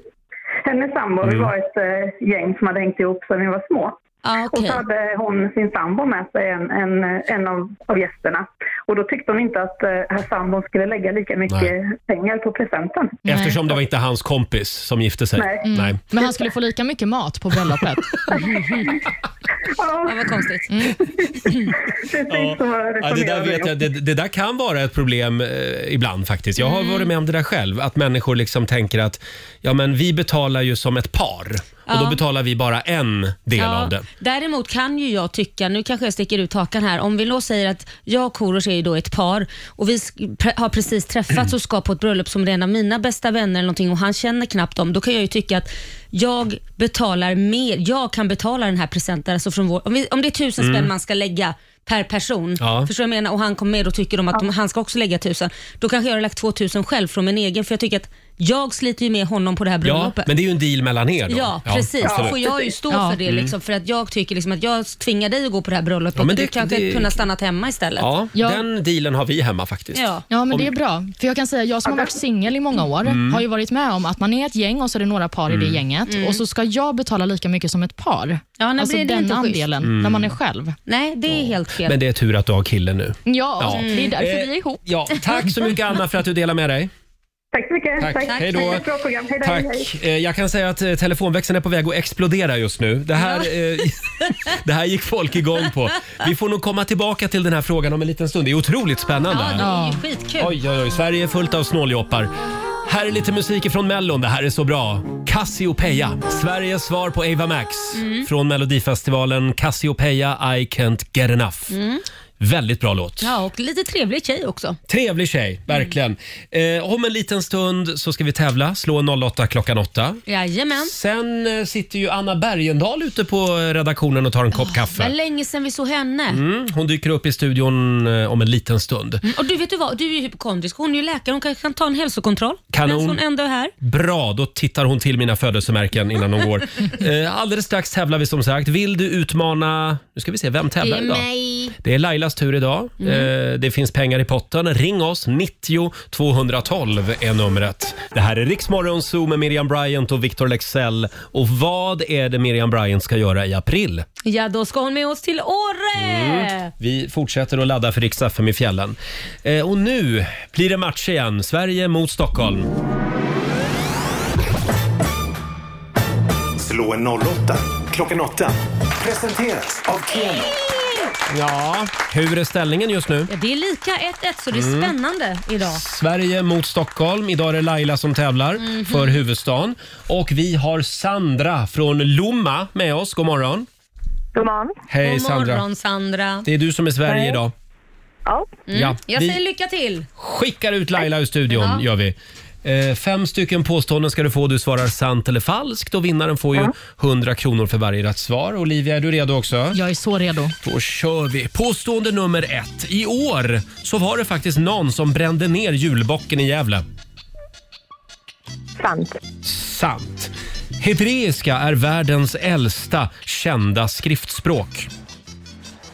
E: Hennes sambo. Vi var ett eh, gäng som hade hängt ihop sedan vi var små.
B: Ja,
E: Och
B: okej.
E: så hade hon sin sambo med sig, en, en, en av, av gästerna. Och då tyckte hon inte att eh, herr sambon skulle lägga lika mycket pengar på presenten.
A: Eftersom det var inte hans kompis som gifte sig.
E: Nej.
A: Nej.
C: Men han skulle få lika mycket mat på bröllopet.
B: Ja, vad konstigt.
E: Precis så var det
A: Ja, det, där vet jag, det, det där kan vara ett problem eh, ibland faktiskt. Jag har varit med om det där själv, att människor liksom tänker att ja, men vi betalar ju som ett par och då
B: Ja.
A: betalar vi bara en del av
B: Ja,
A: det.
B: däremot kan ju jag tycka, nu kanske jag sticker ut hakan här, om vi då säger att jag och Korosh är ju då ett par och vi sk- pre- har precis träffats och ska på ett bröllop som det är en av mina bästa vänner eller någonting och han känner knappt dem, då kan jag ju tycka att jag betalar mer, jag kan betala den här presenten. Alltså från vår, om, vi, om det är tusen spänn man ska lägga per person,
A: Mm. Ja.
B: förstår du vad jag menar? Och han kommer med och tycker de att de, han ska också lägga tusen. Då kanske jag har lagt två tusen själv från min egen, för jag tycker att jag sliter ju med honom på det här
A: Ja,
B: bröllopet.
A: men det är ju en deal mellan er då.
B: Mm. Ja, precis. Då
A: absolut. Mm.
B: får jag ju stå
C: Ja.
B: för det. Liksom, för att jag tycker liksom att jag tvingar dig att gå på det här bröllopet.
A: Ja, men
B: och du
A: det-
B: kanske
A: det-
B: kunde ha stannat hemma istället.
A: Ja,
C: Ja.
A: den dealen har vi hemma faktiskt.
B: Ja.
C: Ja, men det är bra. För jag kan säga, jag som har varit singel i många år har ju varit med om att man är ett gäng och så är det några par i det gänget och så ska jag betala lika mycket som ett par.
B: Ja, nej,
C: alltså
B: blir det
C: den
B: inte schysst.
C: andelen, när man är själv.
B: Nej, det är helt fel.
A: Men det är tur att du har killen nu.
C: Ja,
A: Ja.
C: det är därför
A: Eh,
C: vi är ihop.
A: Ja, tack så mycket Anna för att du delar med dig.
E: Tack så mycket.
A: Tack. Hej då.
E: Tack för ett bra program. Hej då.
A: Tack.
E: Hej.
A: Eh, Jag kan säga att eh, telefonväxeln är på väg att explodera just nu. Det här, eh, [LAUGHS] det här gick folk igång på. Vi får nog komma tillbaka till den här frågan om en liten stund. Det är otroligt spännande.
B: ja, det är ju skitkul.
A: Oj, oj, oj. Sverige är fullt av snåljoppar. Här är lite musik ifrån Mellon. Det här är så bra. Cassiopeia. Sveriges svar på Ava Max
B: Mm.
A: från Melodifestivalen Cassiopeia I Can't Get Enough. Väldigt bra låt.
B: Mm. Ja, och lite trevlig tjej också.
A: Trevlig tjej, verkligen.
B: Mm.
A: Eh, om en liten stund så ska vi tävla. Slå en 08 klockan 8.
B: Jajamän.
A: Sen eh, sitter ju Anna Bergendahl ute på eh, redaktionen och tar en kopp
B: Det var
A: kaffe.
B: länge sedan vi såg henne.
A: Mm, hon dyker upp i studion eh, om en liten stund.
B: Och du vet du vad, du är ju hypokondrisk. Hon är ju läkare, hon kanske kan ta en hälsokontroll.
A: Kanon.
B: Medan hon ändå är här.
A: Bra, då tittar hon till mina födelsemärken innan hon går. Eh, Alldeles strax tävlar vi som sagt. Vill du utmana... Nu ska vi se, vem
B: Det
A: tävlar
B: är
A: idag?
B: mig.
A: Det är Laila Lailas tur idag. Eh, det finns pengar i potten. Ring oss, 90 212 är numret. Det här är Riksmorgon Zoo med Miriam Bryant och Victor Lexell. Och vad är det Miriam Bryant ska göra i april?
B: Ja, då ska hon med oss till Åre!
A: Vi fortsätter att ladda för Rix FM i fjällen. Eh, och nu blir det match igen. Sverige mot Stockholm.
D: Slå en 08 klockan 8. Presenteras av Keno.
A: Ja. Hur är ställningen just nu?
B: Ja, det är lika 1-1, så det är
A: Mm.
B: spännande idag.
A: Sverige mot Stockholm. Idag är det Laila som tävlar
B: Mhm.
A: för huvudstaden. Och vi har Sandra från Lomma med oss. God morgon.
E: God morgon.
A: Hej
B: God
A: Sandra.
B: morgon, Sandra.
A: Det är du som är Sverige idag.
E: Ja.
A: Ja,
B: Mm. Jag
A: vi
B: säger lycka till.
A: skickar ut Laila ur studion,
B: Ja.
A: gör vi. Eh, Fem stycken påståenden ska du få. Du svarar sant eller falskt och vinnaren får ju 100 kronor för varje rätt svar. Olivia, är du redo också?
C: Jag är så redo.
A: Då kör vi. Påstående nummer ett. I år så var det faktiskt någon som brände ner julbocken i Gävle.
E: Sant.
A: Sant. Hebreiska är världens äldsta kända skriftspråk.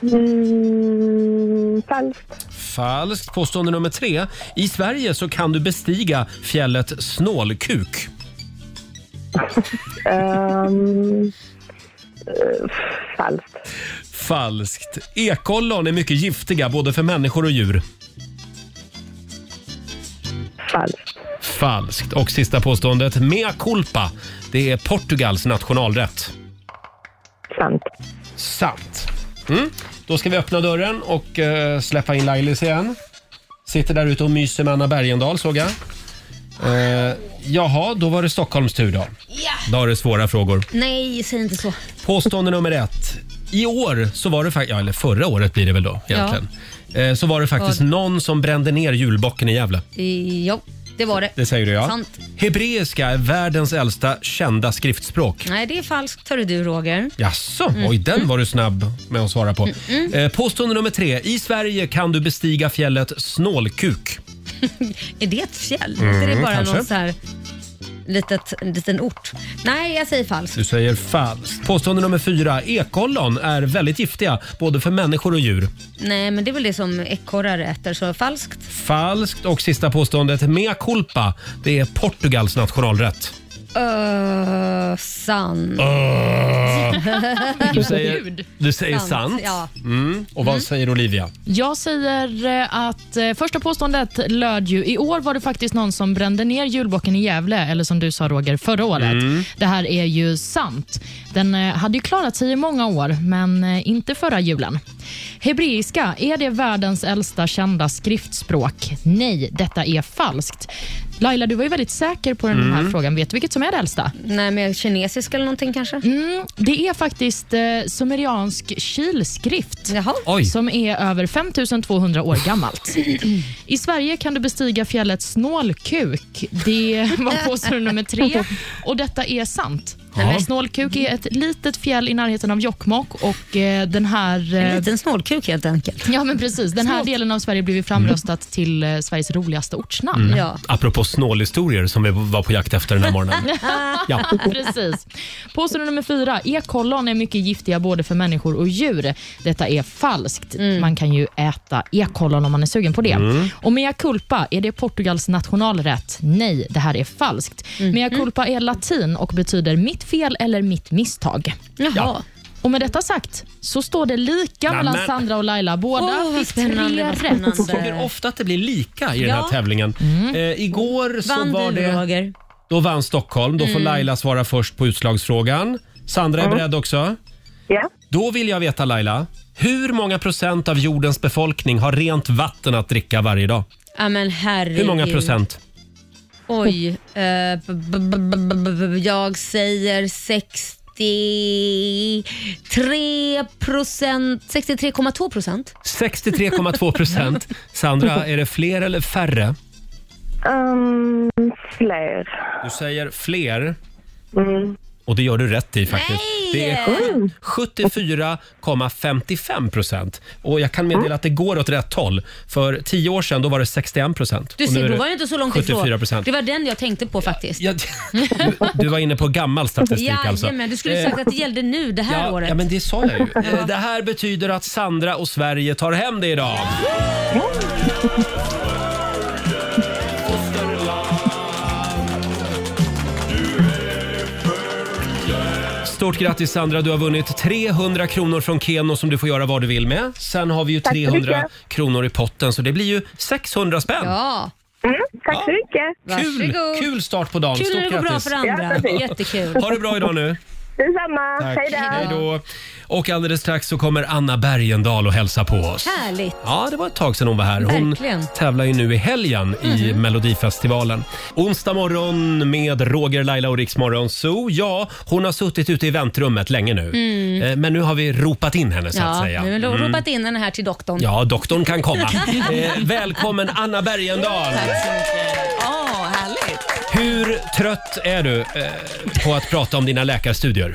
E: Mm, falskt.
A: Falskt. Påstående nummer tre. I Sverige så kan du bestiga fjället Snålkuk.
E: Ehm, eh, falskt.
A: Falskt. Ekollon är mycket giftiga både för människor och djur.
E: Falskt.
A: Falskt. Och sista påståendet. Mea culpa. Det är Portugals nationalrätt.
E: Sant.
A: Sant. Mm. Då ska vi öppna dörren och eh, släppa in Lailis igen. Sitter där ute och myser med Anna Bergendahl såg jag. Eh, jaha, då var det Stockholms tur då. Då har det svåra frågor.
B: Nej, säg inte så.
A: Påstående nummer ett. I år så var det faktiskt, ja, eller förra året blir det väl då egentligen. Eh, så var det faktiskt någon som brände ner julbocken i Gävle.
B: Eh, Jo, det var det.
A: Det säger du ja.
B: Sant.
A: Hebreiska är världens äldsta kända skriftspråk.
B: Nej, det är falskt, hörru du Roger.
A: Jaså,
B: Mm.
A: oj den var du snabb med att svara på. Eh, påstående nummer tre. I Sverige kan du bestiga fjället Snålkuk.
B: Är det ett fjäll? Mm, är det bara
A: kanske.
B: någon så här litet, liten ort? Nej, jag säger falskt.
A: Du säger falskt. Påstående nummer fyra. Ekollon är väldigt giftiga både för människor och djur.
B: Nej, men det är väl det som ekorrar äter, så falskt.
A: Falskt. Och sista påståendet. Mea culpa. Det är Portugals nationalrätt.
B: Öh, sant.
A: Du säger,
C: Gud.
A: du säger
B: Sant,
A: sant.
B: ja.
A: Mm. Och vad säger Olivia?
C: Jag säger eh, att eh, första påståendet löd ju i år var det faktiskt någon som brände ner julbocken i Gävle, eller som du sa Roger, förra året. Det här är ju sant. Den eh, hade ju klarat sig i många år, men eh, inte förra julen. Hebreiska, är det världens äldsta kända skriftspråk? Nej, detta är falskt. Laila, du var ju väldigt säker på den här frågan. Vet du vilket som är det äldsta?
B: Nej, men kinesisk eller någonting kanske?
C: Mm, det är faktiskt eh, sumeriansk kilskrift
B: Jaha.
A: Oj.
C: som är över 5200 år gammalt. I Sverige kan du bestiga fjället Snålkuk. Det var påstående nummer tre och detta är sant.
A: Ja.
C: Snålkuk är ett litet fjäll i närheten av Jokkmokk och eh, den här
B: En
C: eh,
B: liten snålkuk helt enkelt.
C: Ja men precis, den här delen av Sverige blev ju framröstat till eh, Sveriges roligaste ortsnamn.
B: Ja.
A: Apropå snålhistorier som vi var på jakt efter den här morgonen.
B: [LAUGHS]
A: Ja.
C: [LAUGHS] Precis. Påstående nummer fyra. Ekollon är mycket giftiga både för människor och djur. Detta är falskt. Man kan ju äta ekollon om man är sugen på det. Och mea culpa, är det Portugals nationalrätt? Nej, det här är falskt. Mea culpa är latin och betyder mitt fel eller mitt misstag.
B: Jaha.
A: Ja.
C: Och med detta sagt så står det lika
A: Nämen.
C: mellan Sandra och Laila. Båda
B: Åh, vad
C: fick tre
B: spännande, vad spännande.
C: rätt.
A: Det blir ofta att det blir lika i den här
B: Ja. Mm.
A: tävlingen. Eh, igår så
B: Vann
A: var
B: du
A: det...
B: Roger?
A: Då vann Stockholm. Då får
B: Mm.
A: Laila svara först på utslagsfrågan. Sandra är beredd också.
E: Ja.
A: Då vill jag veta Laila, hur många procent av jordens befolkning har rent vatten att dricka varje dag?
B: Ja men herregud.
A: Hur många procent?
B: Oj. eh, b- b- b- b- b- b- jag säger 63 procent. 63,2 procent.
A: 63,2 procent. Sandra, är det fler eller färre?
E: Ehm, fler.
A: Du säger fler. Och det gör du rätt i faktiskt.
B: Mm. Nej! Mm.
A: Det är sju- 74,55 procent. Och jag kan meddela att det går åt rätt håll. För tio år sedan då var det 61 procent.
B: Du
A: Och nu
B: ser,
A: är
B: då
A: det
B: var jag inte så långt
A: 74
B: ifrån.
A: procent.
B: Det var den jag tänkte på faktiskt.
A: Ja, du var inne på gammal statistik alltså.
B: Jajamän, du skulle sagt att det gällde nu det här
A: Ja,
B: året.
A: ja, men det sa
B: [LAUGHS]
A: jag ju. Eh, Det här betyder att Sandra och Sverige tar hem det idag. Stort grattis Sandra, du har vunnit 300 kronor från Keno som du får göra vad du vill med. Sen har vi ju
E: så
A: 300
E: mycket.
A: kronor i potten så det blir ju 600 spänn.
B: Ja,
E: Mm, tack så
A: Ja.
E: mycket.
A: Kul,
B: varsågod. Kul,
A: kul start på dagen.
B: när
A: Stort
B: det går bra
A: grattis.
B: för andra.
E: Ja, precis.
B: Jättekul.
A: Ha det bra idag nu.
E: Detsamma.
A: Tack.
E: Hej då.
A: Hej då. Och alldeles strax så kommer Anna Bergendahl och hälsa på oss.
B: Härligt.
A: Ja, det var ett tag sedan hon var här. Hon
B: Verkligen.
A: tävlar ju nu i helgen i Melodifestivalen. Onsdag morgon med Roger, Laila och Riksmorgon Zoo. Ja, hon har suttit ute i väntrummet länge nu. Eh, Men nu har vi ropat in henne så att
B: Ja, nu
A: säga. Mm.
B: har jag ropat in den här till doktorn.
A: Ja, doktorn kan komma. Eh, välkommen Anna Bergendahl!
H: Ja, härligt.
A: Hur trött är du eh, på att prata om dina läkarstudier?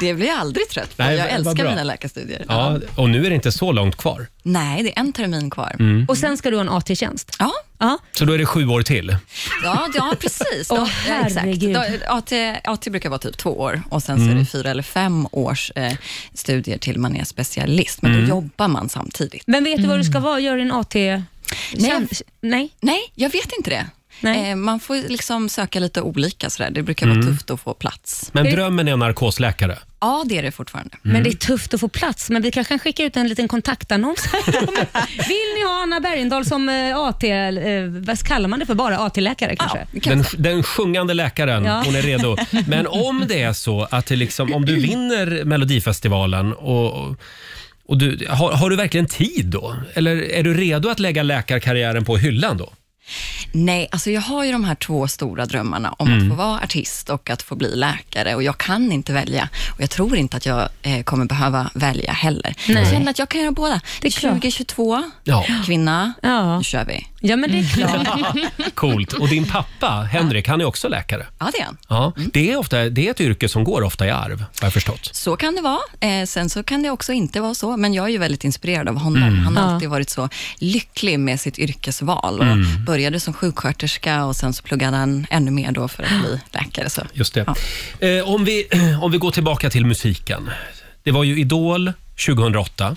H: Det blir jag aldrig trött på.
A: Nej,
H: jag
A: vad- vad
H: älskar
A: bra.
H: mina läkarstudier.
A: Ja, och nu är det inte så långt kvar.
H: Nej, det är en termin kvar.
A: Mm.
B: Och sen ska du ha en AT-tjänst.
H: Ja,
B: Ja.
A: Så då är det sju år till.
H: ja, ja, precis.
B: Åh,
H: Ja, ja,
B: herregud.
H: Då- AT, AT brukar vara typ två år och sen så
A: Mm.
H: är det fyra eller fem års eh, studier till man är specialist, men
A: Mm.
H: då jobbar man samtidigt.
B: Men vet du vad du ska vara? Gör din AT... Nej. Nej.
H: Nej, jag vet inte det.
B: Nej.
H: Eh, man får liksom söka lite olika, sådär. det brukar
A: Mm.
H: vara tufft att få plats.
A: Men drömmen är narkosläkare.
H: Ja, det är det fortfarande.
B: Men
A: Mm.
B: det är tufft att få plats, men vi kanske kan skicka ut en liten kontaktannons.
A: [LAUGHS]
B: Vill ni ha Anna Bergendahl som eh, AT, eh, vad kallar man det för, bara AT-läkare kanske?
H: Ja, kan-
A: Den, den sjungande läkaren,
B: Ja.
A: hon är redo. Men om det är så att det liksom, om du vinner Melodifestivalen och, och du, har, har du verkligen tid då? Eller är du redo att lägga läkarkarriären på hyllan då?
H: Nej, alltså jag har ju de här två stora drömmarna om
A: Mm.
H: att få vara artist och att få bli läkare och jag kan inte välja och jag tror inte att jag eh, kommer behöva välja heller. Jag känner att jag kan göra båda.
B: Det är klart.
H: 2022,
A: Ja.
H: kvinna,
B: Ja.
H: nu kör vi.
B: Ja, men det är
A: Mm. [LAUGHS]
B: klart.
A: Coolt. Och din pappa, Henrik, han är också läkare.
H: Ja, det är han.
A: Ja, det, är ofta, det är ett yrke som går ofta i arv, har jag förstått.
H: Så kan det vara. Eh, sen så kan det också inte vara så, men jag är ju väldigt inspirerad av honom.
A: Mm.
H: Han har alltid varit så lycklig med sitt yrkesval och
A: Mm.
H: började som sjuksköterska och sen så pluggade han ännu mer då för att bli läkare. Så.
A: Just det. Eh, om, vi, [CLEARS THROAT] om vi går tillbaka till musiken. Det var ju Idol 2008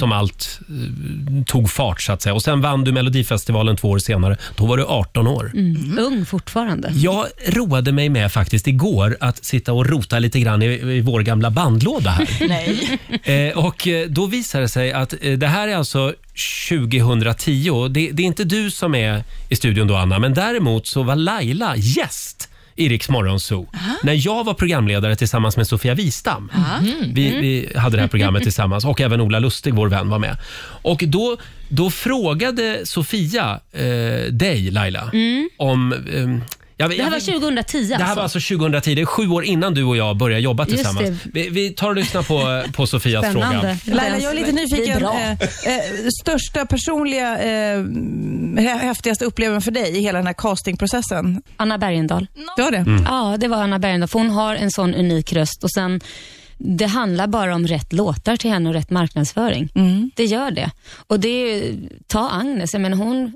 A: som allt eh, tog fart så att säga. Och sen vann du Melodifestivalen två år senare. Då var du 18 år.
B: Mm. Ung fortfarande.
A: Jag roade mig med faktiskt igår att sitta och rota lite grann i, i vår gamla bandlåda här. Nej. [LAUGHS] Eh, och eh, då visade det sig att eh, det här är alltså 2010. Det, det är inte du som är i studion då Anna, men däremot så var Laila gäst i Riks Morgonzoo. När jag var programledare tillsammans med Sofia Wistam.
B: Mm.
A: Vi, vi hade det här
B: [LAUGHS]
A: programmet tillsammans och även Ola Lustig, vår vän, var med. Och då, då frågade Sofia eh, dig, Laila, om... ehm, jag-
B: Mm. Det här
A: jag-
B: var 2010
A: det här
B: alltså.
A: var alltså 2010, det är sju år innan du och jag började jobba
B: Just
A: tillsammans.
B: det.
A: Vi, vi tar och lyssnar på, på Sofias fråga.
B: Spännande.
I: Laila, jag är lite
B: Det är
I: nyfiken.
B: bra.
I: Eh, eh, största personliga eh, hä- häftigaste upplevelsen för dig i hela den här castingprocessen?
B: Anna Bergendahl.
I: Det var det?
B: Mm. Ja, det var Anna Bergendahl, för hon har en sån unik röst och sen det handlar bara om rätt låtar till henne och rätt marknadsföring. Det gör det. Och det är, ju- ta Agnes, jag menar, hon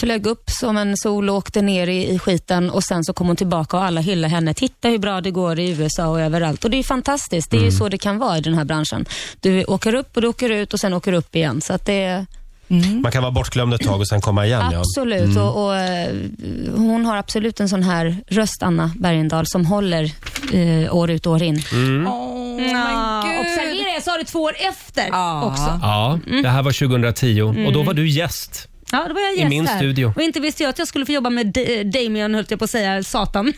B: flög upp som en sol och åkte ner i, i skiten och sen så kom hon tillbaka och alla hyllade henne. Titta hur bra det går i USA och överallt. Och det är fantastiskt. Det är ju så det kan vara i den här branschen. Du åker upp och du åker ut och sen åker du upp igen. Så att det är
A: Man kan vara bortglömd ett tag och sen komma igen.
B: Mm. Absolut.
A: Mm.
B: Och, och, eh, hon har absolut en sån här röst, Anna Bergendahl, som håller eh, år ut och år in.
A: Mm.
B: Mm.
I: Åh,
B: Ja, Observera, jag sa det två år efter också.
A: Ja,
B: Mm.
A: det här var 2010 och då var du gäst.
B: Ja, då var jag gäst
A: min
B: här.
A: studio.
B: Och inte visste jag att jag skulle få jobba med D- eh, Damien, höll jag på att
A: [LAUGHS]
B: säga, Satan.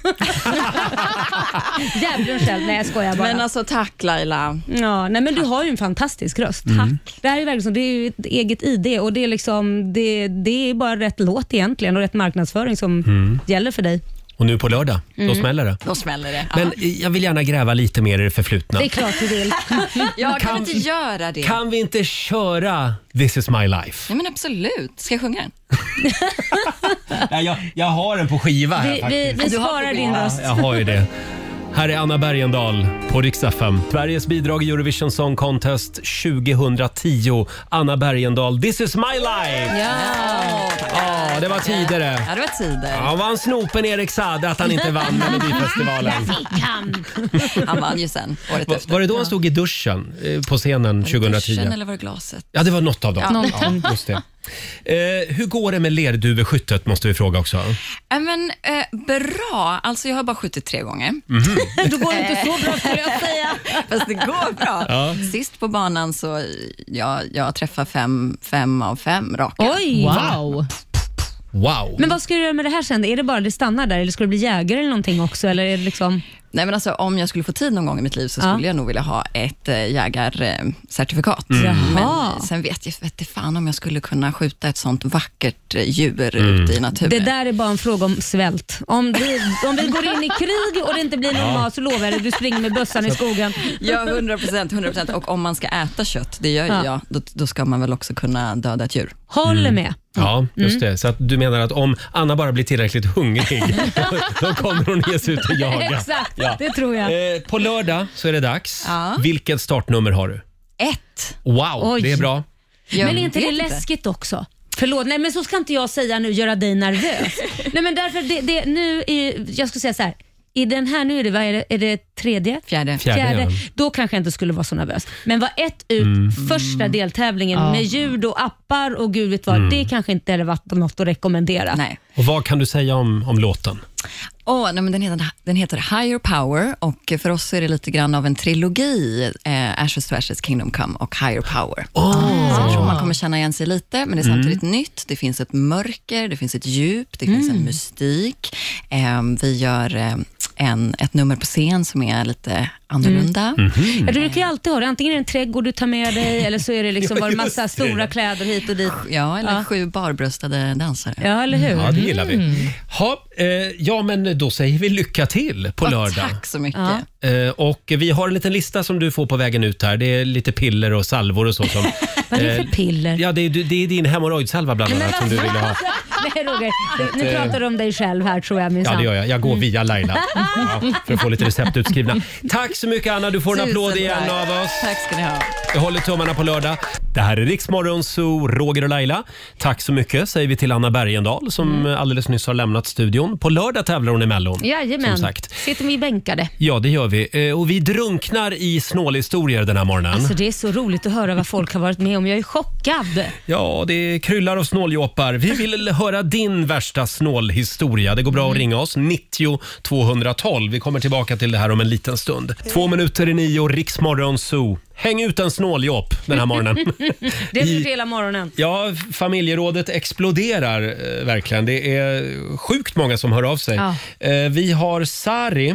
B: Djävulen själv. Nej, jag skojar bara.
H: Men alltså tack Laila.
B: Ja, nej, men du har ju en fantastisk röst.
A: Mm.
B: Tack. Det här är verkligen så, det är ju ett eget ID och det är, liksom, det, det är bara rätt låt egentligen och rätt marknadsföring som
A: Mm.
B: gäller för dig.
A: Och nu på lördag,
B: Mm.
A: då smäller det.
H: Då smäller det.
A: Men eh, jag vill gärna gräva lite mer i det förflutna.
B: Det är klart du vill.
H: Jag kan,
A: Kan-
H: inte göra det.
A: Kan vi inte köra This is my life?
B: [LAUGHS]
H: Nej men absolut. Ska jag sjunga den?
A: Nej, jag, jag har den på skiva här
B: Vi, vi, vi
A: faktiskt.
B: sparar din röst.
A: Jag har ju det. Här är Anna Bergendahl på Rix FM. Sveriges bidrag i Eurovision Song Contest 2010. Anna Bergendahl, This is my life!
B: Ja.
A: Ja, det var tidigare.
H: Ja, det var tider.
A: Ja, vann snopen Erik Saade att han inte vann Melodifestivalen.
H: Han vann ju sen, året
A: Var,
H: efter.
A: var det då han stod i duschen eh, på scenen
H: Duschen
A: 2010?
H: eller var det glaset?
A: Ja, det var något av dem.
H: Ja.
A: Ja, just det. Eh, hur går det med lerduveskyttet måste vi fråga också.
H: Ja, men, eh, bra. Alltså, jag har bara skjutit tre gånger.
A: Mhm.
H: [LAUGHS]
B: Då går det inte så bra skulle
A: [LAUGHS]
B: jag säga.
H: Fast det går bra.
A: Ja.
H: Sist på banan så ja, jag träffar fem, fem av fem raka.
B: Oj!
C: Wow.
A: Wow!
B: Men vad ska du göra med det här sen? Är det bara det stannar där eller ska du bli jägare eller någonting också? Eller är det liksom...
H: Nej, men alltså, om jag skulle få tid någon gång i mitt liv så
B: Ja.
H: skulle jag nog vilja ha ett eh, jägarcertifikat.
A: Mm.
B: Jaha.
H: Men sen vet jag vet jag fan om jag skulle kunna skjuta ett sånt vackert eh, djur
A: Mm.
H: ute i naturen.
B: Det där är bara en fråga om svält. Om vi, om vi går in i krig och det inte blir någon mat så lovar jag dig, du springer med bössan i skogen.
H: Ja, 100 procent. 100 procent. Och om man ska äta kött, det gör ju
B: Ja.
H: jag, då, då ska man väl också kunna döda ett djur.
A: Mm.
B: Håller med.
A: Ja,
H: Mm.
A: just det. Så att du menar att om Anna bara blir tillräckligt
H: [LAUGHS]
A: hungrig, då- då kommer hon ge sig ut och jaga.
B: Exakt,
A: Ja.
B: det tror jag.
A: Eh, på lördag så är det dags.
H: Ja.
A: Vilket startnummer har du?
H: Ett!
A: Wow,
B: Oj.
A: det är bra.
H: Jag
B: Men är inte det
H: vet
B: läskigt också? Förlåt, nej men så ska inte jag säga nu, göra dig [LAUGHS] nervös. nej men därför, det, det, nu är, jag ska säga så här. I den här nu är det, vad är det, är det tredje?
H: Fjärde.
A: Fjärde. ja. Mm.
B: då kanske jag inte skulle vara så nervös. Men var ett ut första deltävlingen med ljud och appar och gud vet vad,
A: Mm.
B: det kanske inte hade varit något att rekommendera.
H: Nej.
A: Och vad kan du säga om, om låten?
H: Åh, nej, men den, heter, den heter Higher Power och för oss är det lite grann av en trilogi, eh, Ashes to Ashes, Kingdom Come och Higher Power. Så jag tror man kommer känna igen sig lite, men det är
A: Mm.
H: samtidigt nytt. Det finns ett mörker, det finns ett djup, det finns
A: Mm.
H: en mystik. Eh, vi gör eh, en, ett nummer på scen som är lite annorlunda.
A: Mm.
B: Ja, Mm-hmm. Du brukar ju alltid ha det, antingen är det en trädgård du tar med dig eller så är det [LAUGHS] liksom bara en massa stora kläder hit och dit.
A: Mm.
H: Ja, eller
B: Ja.
H: sju barbröstade dansare.
B: Ja, eller hur?
H: Mm.
A: Ja, det gillar vi. Ha, eh, ja, men då säger vi lycka till på
H: Och
A: lördag.
H: Tack så mycket.
B: Ja.
A: Eh, och vi har en liten lista som du får på vägen ut här. Det är lite piller och salvor och så. Som,
H: [LAUGHS]
B: Vad är det
A: Eh,
B: för piller?
A: ja, det är, det är din hemorrojdsalva bland annat som du ville ha.
B: alltså, [LAUGHS]
A: eh,
B: Nej Roger, du- nu pratar du om dig själv här tror jag
A: Ja,
B: minsann.
A: det gör jag. Jag
H: Mm.
A: går via Laila
H: [LAUGHS]
A: ja, för att få lite recept utskrivna. Tack så mycket Anna. Du får en
H: Tusen
A: applåd igen
H: tack.
A: av oss.
H: Tack ska ni ha.
A: Jag håller tummarna på lördag. Det här är Riksmorgon Zoo, Roger och Laila. Tack så mycket säger vi till Anna Bergendahl som
H: Mm.
A: alldeles nyss har lämnat studion. På lördag tävlar hon i Mellon.
B: Jajamän,
A: Som sagt.
B: sitter vi bänkade.
A: Ja, det gör vi. Eh, Och vi drunknar i snålhistorier den här morgonen.
B: Så Alltså, det är så roligt att höra vad folk har varit med om. Jag är chockad.
A: Ja, det kryllar av snåljåpar. Vi vill höra din värsta snålhistoria. Det går bra att ringa oss. 90 212. Vi kommer tillbaka till det här om en liten stund. Två minuter i nio, Riksmorgon Zoo. Häng ut en snåljåp den här morgonen.
B: Det är
A: I-
B: I... hela morgonen.
A: Ja, familjerådet exploderar eh, verkligen. Det är sjukt många som hör av sig.
B: Ja.
A: Eh, vi har Sari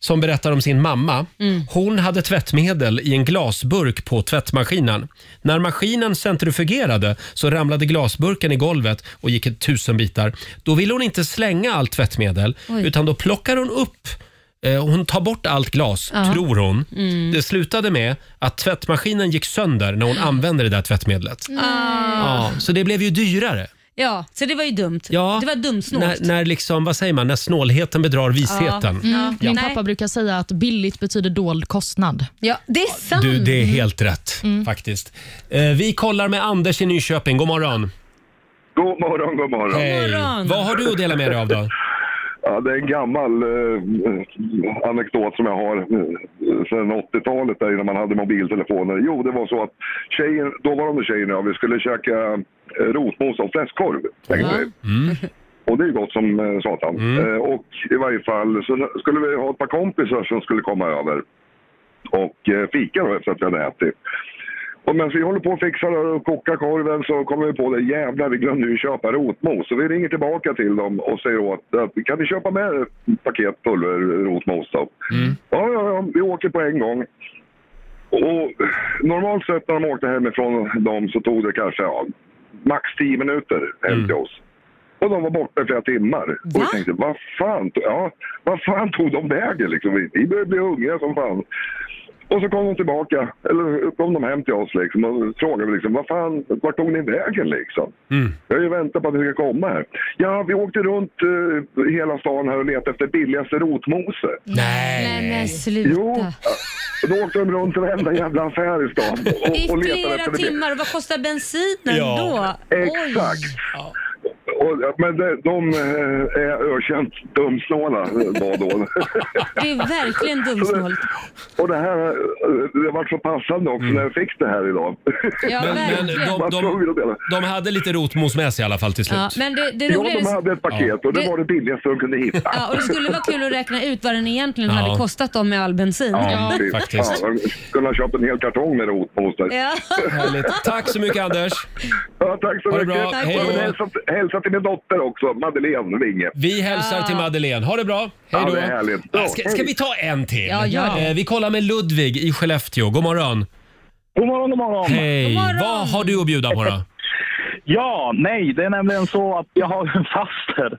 A: som berättar om sin mamma.
B: Mm.
A: Hon hade tvättmedel i en glasburk på tvättmaskinen. När maskinen centrifugerade så ramlade glasburken i golvet och gick i tusen bitar. Då ville hon inte slänga allt tvättmedel
B: Oj.
A: utan då plockar hon upp eh, hon tar bort allt glas, tror hon.
B: Mm.
A: Det slutade med att tvättmaskinen gick sönder när hon använde det där tvättmedlet. Ja, så det blev ju dyrare.
B: Ja, så det var ju dumt.
A: Ja,
B: Det var dumsnålt.
A: När, när liksom, vad säger man, när snålheten bedrar visheten.
C: Min
B: Mm. Nej.
C: pappa brukar säga att billigt betyder dold kostnad.
B: Ja, det är sant.
A: Du, det är helt rätt
B: Mm.
A: faktiskt. Eh, vi kollar med Anders i Nyköping. God morgon.
J: God morgon, god morgon.
A: Hej.
B: morgon.
A: Vad har du att dela med dig av då?
J: Ja, det är en gammal eh, anekdot som jag har eh, sedan 80-talet där innan man hade mobiltelefoner. Jo, det var så att tjejen, dåvarande tjejen och jag, vi skulle käka eh, rotmos och fläskkorv. tänkte vi. Och det är ju gott som eh, satan. Eh, och i varje fall så skulle vi ha ett par kompisar som skulle komma över och eh, fika då efter att vi hade ätit. Och medan vi håller på och fixar och kokar korven så kommer vi på det, jävlar vi glömde ju köpa rotmos. Så vi ringer tillbaka till dem och säger åt, att, kan ni köpa med ett paket pulverrotmos då? Ja, ja, ja, vi åker på en gång. Och normalt sett när de åkte hemifrån dem så tog det kanske ja, max 10 minuter hem till oss. Och de var borta i flera timmar. Och
B: Va?
J: jag tänkte, vad fan, to- ja, vad fan tog de vägen liksom? Vi- Vi började bli hungriga som fan. Och så kom de tillbaka, eller kom de hem till oss liksom och frågade liksom, vad fan, vart tog ni vägen liksom? Jag har ju väntat på att ni ska komma här. Ja, vi åkte runt eh, i hela stan här och letade efter billigaste rotmose.
A: Nej.
B: Nej men sluta.
J: Jo, då åkte de runt i varenda jävla affär i stan
B: I
J: och, och letade
B: flera
J: efter det.
B: timmar, och vad kostar bensinen
J: Ja,
B: då?
J: Exakt. Och, men de, de eh, är ökänt dumsnåla eh, var då.
B: Det är verkligen dumsnålt.
J: och det här, eh, det var så passande också när jag fick det här idag.
B: Ja,
A: Men, men de,
B: verkligen.
A: de, de, hade lite rotmos med sig i alla fall till slut.
B: Ja, men det, det
J: Ja,
B: roliga
J: de hade ett paket och det
B: Det-
J: var det billigaste de kunde hitta.
B: Ja, och det skulle vara kul att räkna ut vad den egentligen
J: Ja.
B: hade kostat dem med all bensin.
J: Ja, fy
A: faktiskt.
J: fan, jag kunde ha köpt en hel kartong med rotmos. där.
B: Ja.
A: Härligt. Tack så mycket Anders.
J: Ja, tack så
A: Ha det
J: mycket.
A: bra. Hej
J: Jag
A: då.
J: vill hälsa, hälsa till min dotter också, Madeleine Winge.
A: Vi hälsar till Madeleine. Ha det bra. Hej
J: Ja,
A: då.
J: det är härligt.
A: Ja, Ska, ska vi ta en till?
B: Ja, gör det.
A: Eh, Vi kollar med Ludvig i Skellefteå. God morgon.
K: God morgon, god morgon.
A: Hej.
K: God morgon.
A: Vad har du att bjuda på då?
K: Ja, nej, det är nämligen så att jag har en faster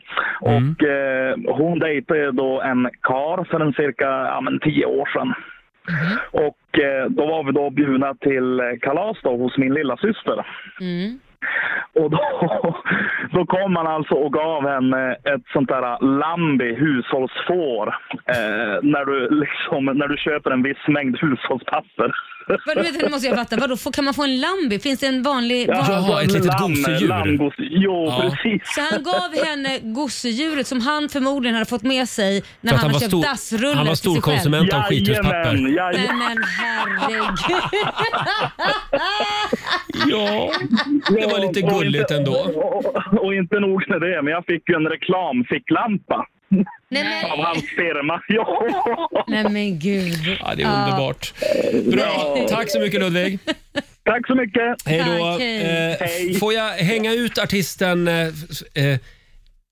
A: Mm.
K: och eh, hon dejtade då en kar för en cirka ja, men tio år sedan. Och eh, då var vi då bjudna till eh, kalas då hos min lilla syster.
B: Mm.
K: Och då, [LAUGHS] då kom han alltså och gav henne ett sånt där Lambi hushållsfår eh, när, du liksom, när du köper en viss mängd
A: [LAUGHS]
K: hushållspapper.
B: Vad, men, nu måste jag fatta, [LAUGHS] vadå, får- kan man få en Lambi? Finns det en vanlig...
K: Ja,
B: vanlig...
K: alltså, lamm- lammgos- Jo,
A: Ja.
K: precis.
B: Så han gav henne gosedjuret som han förmodligen hade fått med sig när
A: För att
B: han,
A: han
B: har
A: var
B: köpt
A: stor-
B: dassrullar
A: han var
B: till sig själv.
A: storkonsument av skithuspapper. Jajamän,
B: Nej
A: jajamän.
B: men herregud.
A: Ja, det var lite
K: och
A: gulligt
K: inte,
A: ändå.
K: Och, och, och inte nog med det, men jag fick ju en reklamficklampa. Av hans firma. [LAUGHS] Ja.
B: Nej men gud.
A: Ja, det är underbart. Bra. Tack så mycket Ludvig.
K: Tack så mycket.
A: Hej då.
B: Tack, hej.
A: Eh,
B: Hej.
A: Får jag hänga ut artisten eh, f- eh,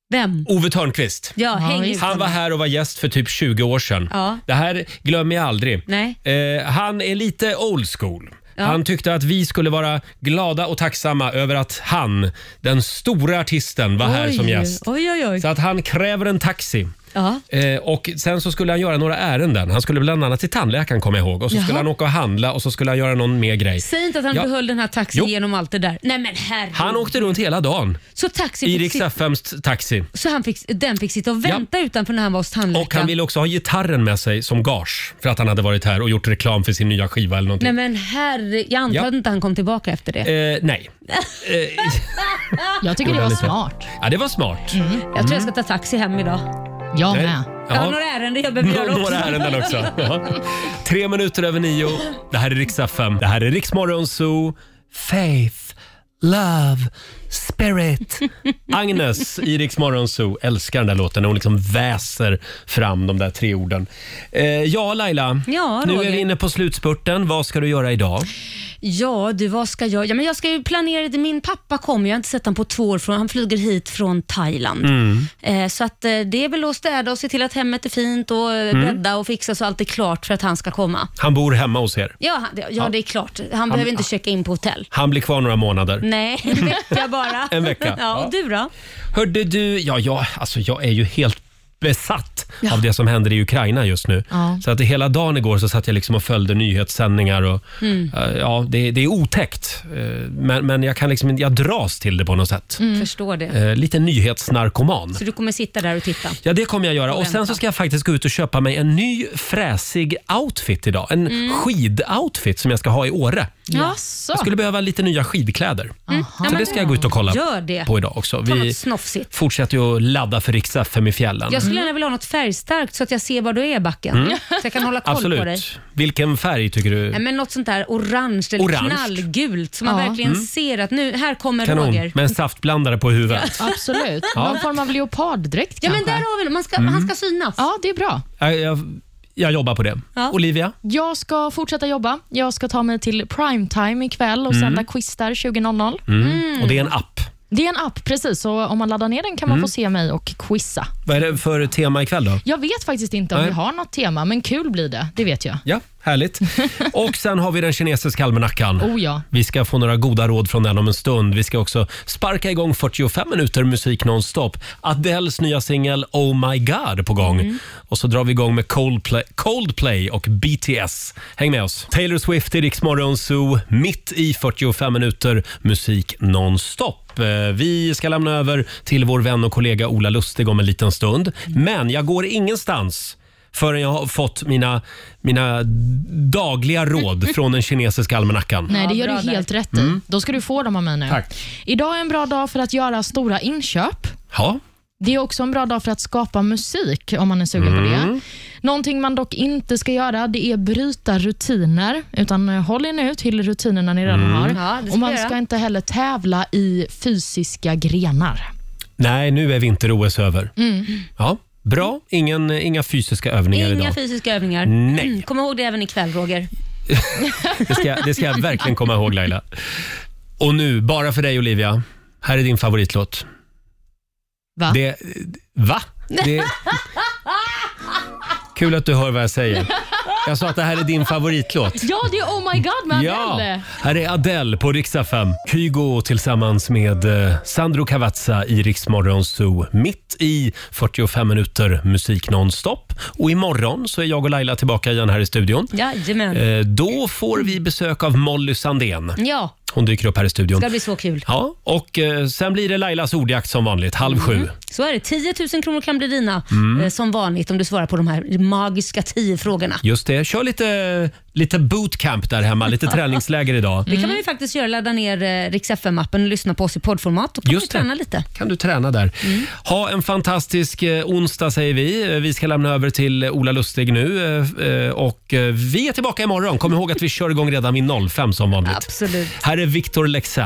B: Vem?
A: Ove Thörnqvist?
B: Ja, häng ut
A: Han
B: honom.
A: var här och var gäst för typ 20 år sedan.
B: Ja.
A: Det här glömmer jag aldrig.
B: Nej.
A: Eh, han är lite old school.
B: Ja.
A: Han tyckte att vi skulle vara glada och tacksamma över att han, den stora artisten, var här
B: Oj,
A: som gäst.
B: Oj, oj, oj.
A: Så att han kräver en taxi.
B: Ja.
A: Eh, och sen så skulle han göra några ärenden. Han skulle bland annat till tandläkaren kommer jag ihåg. Och så
B: Jaha.
A: skulle han åka och handla och så skulle han göra någon mer grej.
B: Säg inte att han
A: Ja.
B: behöll den här taxin
A: Jo.
B: genom allt det där. Nej men herregud.
A: Han åkte runt hela dagen
B: Så taxin
A: i
B: fick
A: Rix
B: sitta-
A: FMs taxi.
B: Så han fick, den fick sitta och vänta utanför när han var hos tandläkaren?
A: Och han ville också ha gitarren med sig som gage för att han hade varit här och gjort reklam för sin nya skiva eller någonting.
B: Nej men herre, jag antar
A: Ja.
B: inte han kom tillbaka efter det.
A: Eh,
B: [LAUGHS]
A: nej.
B: jag
A: Gjorde han inte. Ja, det var smart.
B: Jag tror jag ska ta taxi hem idag.
A: Jag
B: med. Jag har några ärenden jag behöver göra
A: [LAUGHS]
B: också.
A: Några ärenden också.
B: [LAUGHS]
A: Ja. Tre minuter över nio. Det här är riksdag 5. Det här är Riksmorgon Zoo. Faith, love, spirit. Agnes i Riksmorgon Zoo älskar den där låten. Hon liksom väser fram de där tre orden. Eh, ja, Laila.
B: Ja,
A: nu är
B: Roger.
A: vi inne på slutspurten. Vad ska du göra idag?
B: Ja du, vad ska jag? Ja, men jag ska ju planera det. Min pappa kommer, jag har inte sett honom på två år, för han flyger hit från Thailand.
A: Mm.
B: Eh, så att eh, det är väl att städa och se till att hemmet är fint och eh,
A: Mm.
B: bädda och fixa så allt är klart för att han ska komma.
A: Han bor hemma hos er.
B: Ja, han- ja, ja. det är klart. Han, behöver inte checka in på hotell.
A: Han blir kvar några månader. [LAUGHS]
B: Nej, en vecka bara.
A: En vecka.
B: Ja, och du då?
A: Hörde du, ja, ja alltså jag är ju helt besatt
B: Ja.
A: av det som händer i Ukraina just nu.
B: Ja.
A: Så att hela dagen igår så satt jag liksom och följde nyhetssändningar och
B: Mm.
A: eh, ja, det, det är otäckt. Eh, Men, men jag kan liksom, inte- jag dras till det på något sätt.
B: Mm. Förstår det.
A: Eh, Lite nyhetsnarkoman.
B: Så du kommer sitta där och titta?
A: Ja, det kommer jag göra.
B: Och
A: Och sen
B: vänta.
A: så ska jag faktiskt gå ut och köpa mig en ny fräsig outfit idag. En
B: Mm.
A: skidoutfit som jag ska ha i Åre.
B: Jaså?
A: Jag skulle behöva lite nya skidkläder. Så det ska jag gå ut och kolla
B: Gör det.
A: på idag också.
B: Ta
A: Vi
B: något snofsigt.
A: fortsätter ju att ladda för riks FM i fjällen.
B: Jag skulle gärna vilja ha något färgstarkt så att jag ser var du är backen.
A: Mm.
B: Så jag kan hålla koll
A: Absolut.
B: på dig.
A: Vilken färg tycker du?
B: Nej, men något sånt där orange eller
A: Orange.
B: knallgult som man
A: Ja.
B: verkligen
A: Mm.
B: ser att nu, här kommer
A: Kanon.
B: Roger.
A: Med en saftblandare på huvudet.
C: Absolut.
A: Ja.
C: Någon form av leoparddräkt
B: Ja, men
C: kanske?
B: där har vi det. Man ska,
A: Mm.
B: Han ska synas.
C: Ja, det är bra.
A: Jag, jag, jag jobbar på det.
C: Ja.
A: Olivia?
C: Jag ska fortsätta jobba. Jag ska ta mig till primetime ikväll och
A: Mm.
C: sända quiz där 20.00.
A: Mm. Och det är en app.
C: Det är en app, precis. Så om man laddar ner den kan man
A: Mm.
C: få se mig och quizza.
A: Vad är det för tema ikväll då?
C: Jag vet faktiskt inte om
A: Nej.
C: vi har något tema, men kul blir det. Det vet jag.
A: Ja, härligt. Och sen har vi den kinesiska almanackan.
C: Oh ja.
A: Vi ska få några goda råd från den om en stund. Vi ska också sparka igång 45 minuter musik nonstop. Adels nya singel Oh My God på gång.
L: Mm.
A: Och så drar vi igång med Coldplay, Coldplay och BTS. Häng med oss. Taylor Swift i Rix Morgon Zoo, mitt i 45 minuter musik nonstop. Eh, Vi ska lämna över till vår vän och kollega Ola Lustig om en liten stund. Men jag går ingenstans förrän jag har fått mina, mina dagliga råd från den kinesiska almanackan.
C: Nej, det gör du helt rätt i.
A: Mm.
C: Då ska du få dem av mig nu.
A: Tack.
C: Idag är en bra dag för att göra stora inköp.
A: Ja.
C: Det är också en bra dag för att skapa musik, om man är sugen på det.
A: Mm.
C: Någonting man dock inte ska göra, det är bryta rutiner. Utan eh, håll er nu till rutinerna ni redan
A: Mm.
C: har.
A: Ja, det ska
C: Och man
A: jag göra.
C: ska inte heller tävla i fysiska grenar.
A: Nej, nu är vinter-OS över.
B: Mm.
A: Ja, bra. Ingen, inga fysiska övningar
B: Inga
A: idag.
B: fysiska övningar.
A: Nej.
B: Mm, Kom ihåg det även ikväll, Roger.
A: Det ska, jag- det ska jag verkligen komma ihåg Laila. Och nu, bara för dig Olivia. Här är din favoritlåt.
C: Va?
A: Det, va?
C: [LAUGHS]
A: Det, kul att du hör vad jag säger. Jag sa att det här är din favoritlåt.
C: Ja, det är Oh My God med
A: Ja,
C: Adele.
A: här är Adele på Rix FM. Kygo tillsammans med eh, Sandro Cavazza i Rix Morgon Zoo. Mitt i 45 minuter musik nonstop. Och imorgon så är jag och Laila tillbaka igen här i studion.
B: Jajamän.
A: Eh, Då får vi besök av Molly Sandén.
B: Ja,
A: Hon dyker upp här i
B: det
A: studion.
B: ska bli så kul.
A: Ja, och eh, sen blir det Lailas ordjakt som vanligt, halv sju.
B: Så är det. 10 000 kronor kan bli dina
A: Mm.
B: eh, som vanligt om du svarar på de här magiska 10 frågorna.
A: Just det, kör lite, lite bootcamp där hemma, lite träningsläger idag.
B: Det
C: Mm.
B: kan man ju faktiskt göra. Ladda ner eh, Rix FM-appen och lyssna på oss i poddformat. Då kan
A: Just
B: du
A: det.
B: träna lite.
A: kan du träna där. Ha en fantastisk eh, onsdag säger vi. Eh, Vi ska lämna över till Ola Lustig nu eh, eh, och eh, vi är tillbaka imorgon. Kom ihåg att vi kör igång redan vid 05 som vanligt.
B: Absolut.
A: Här är Victor Lexell.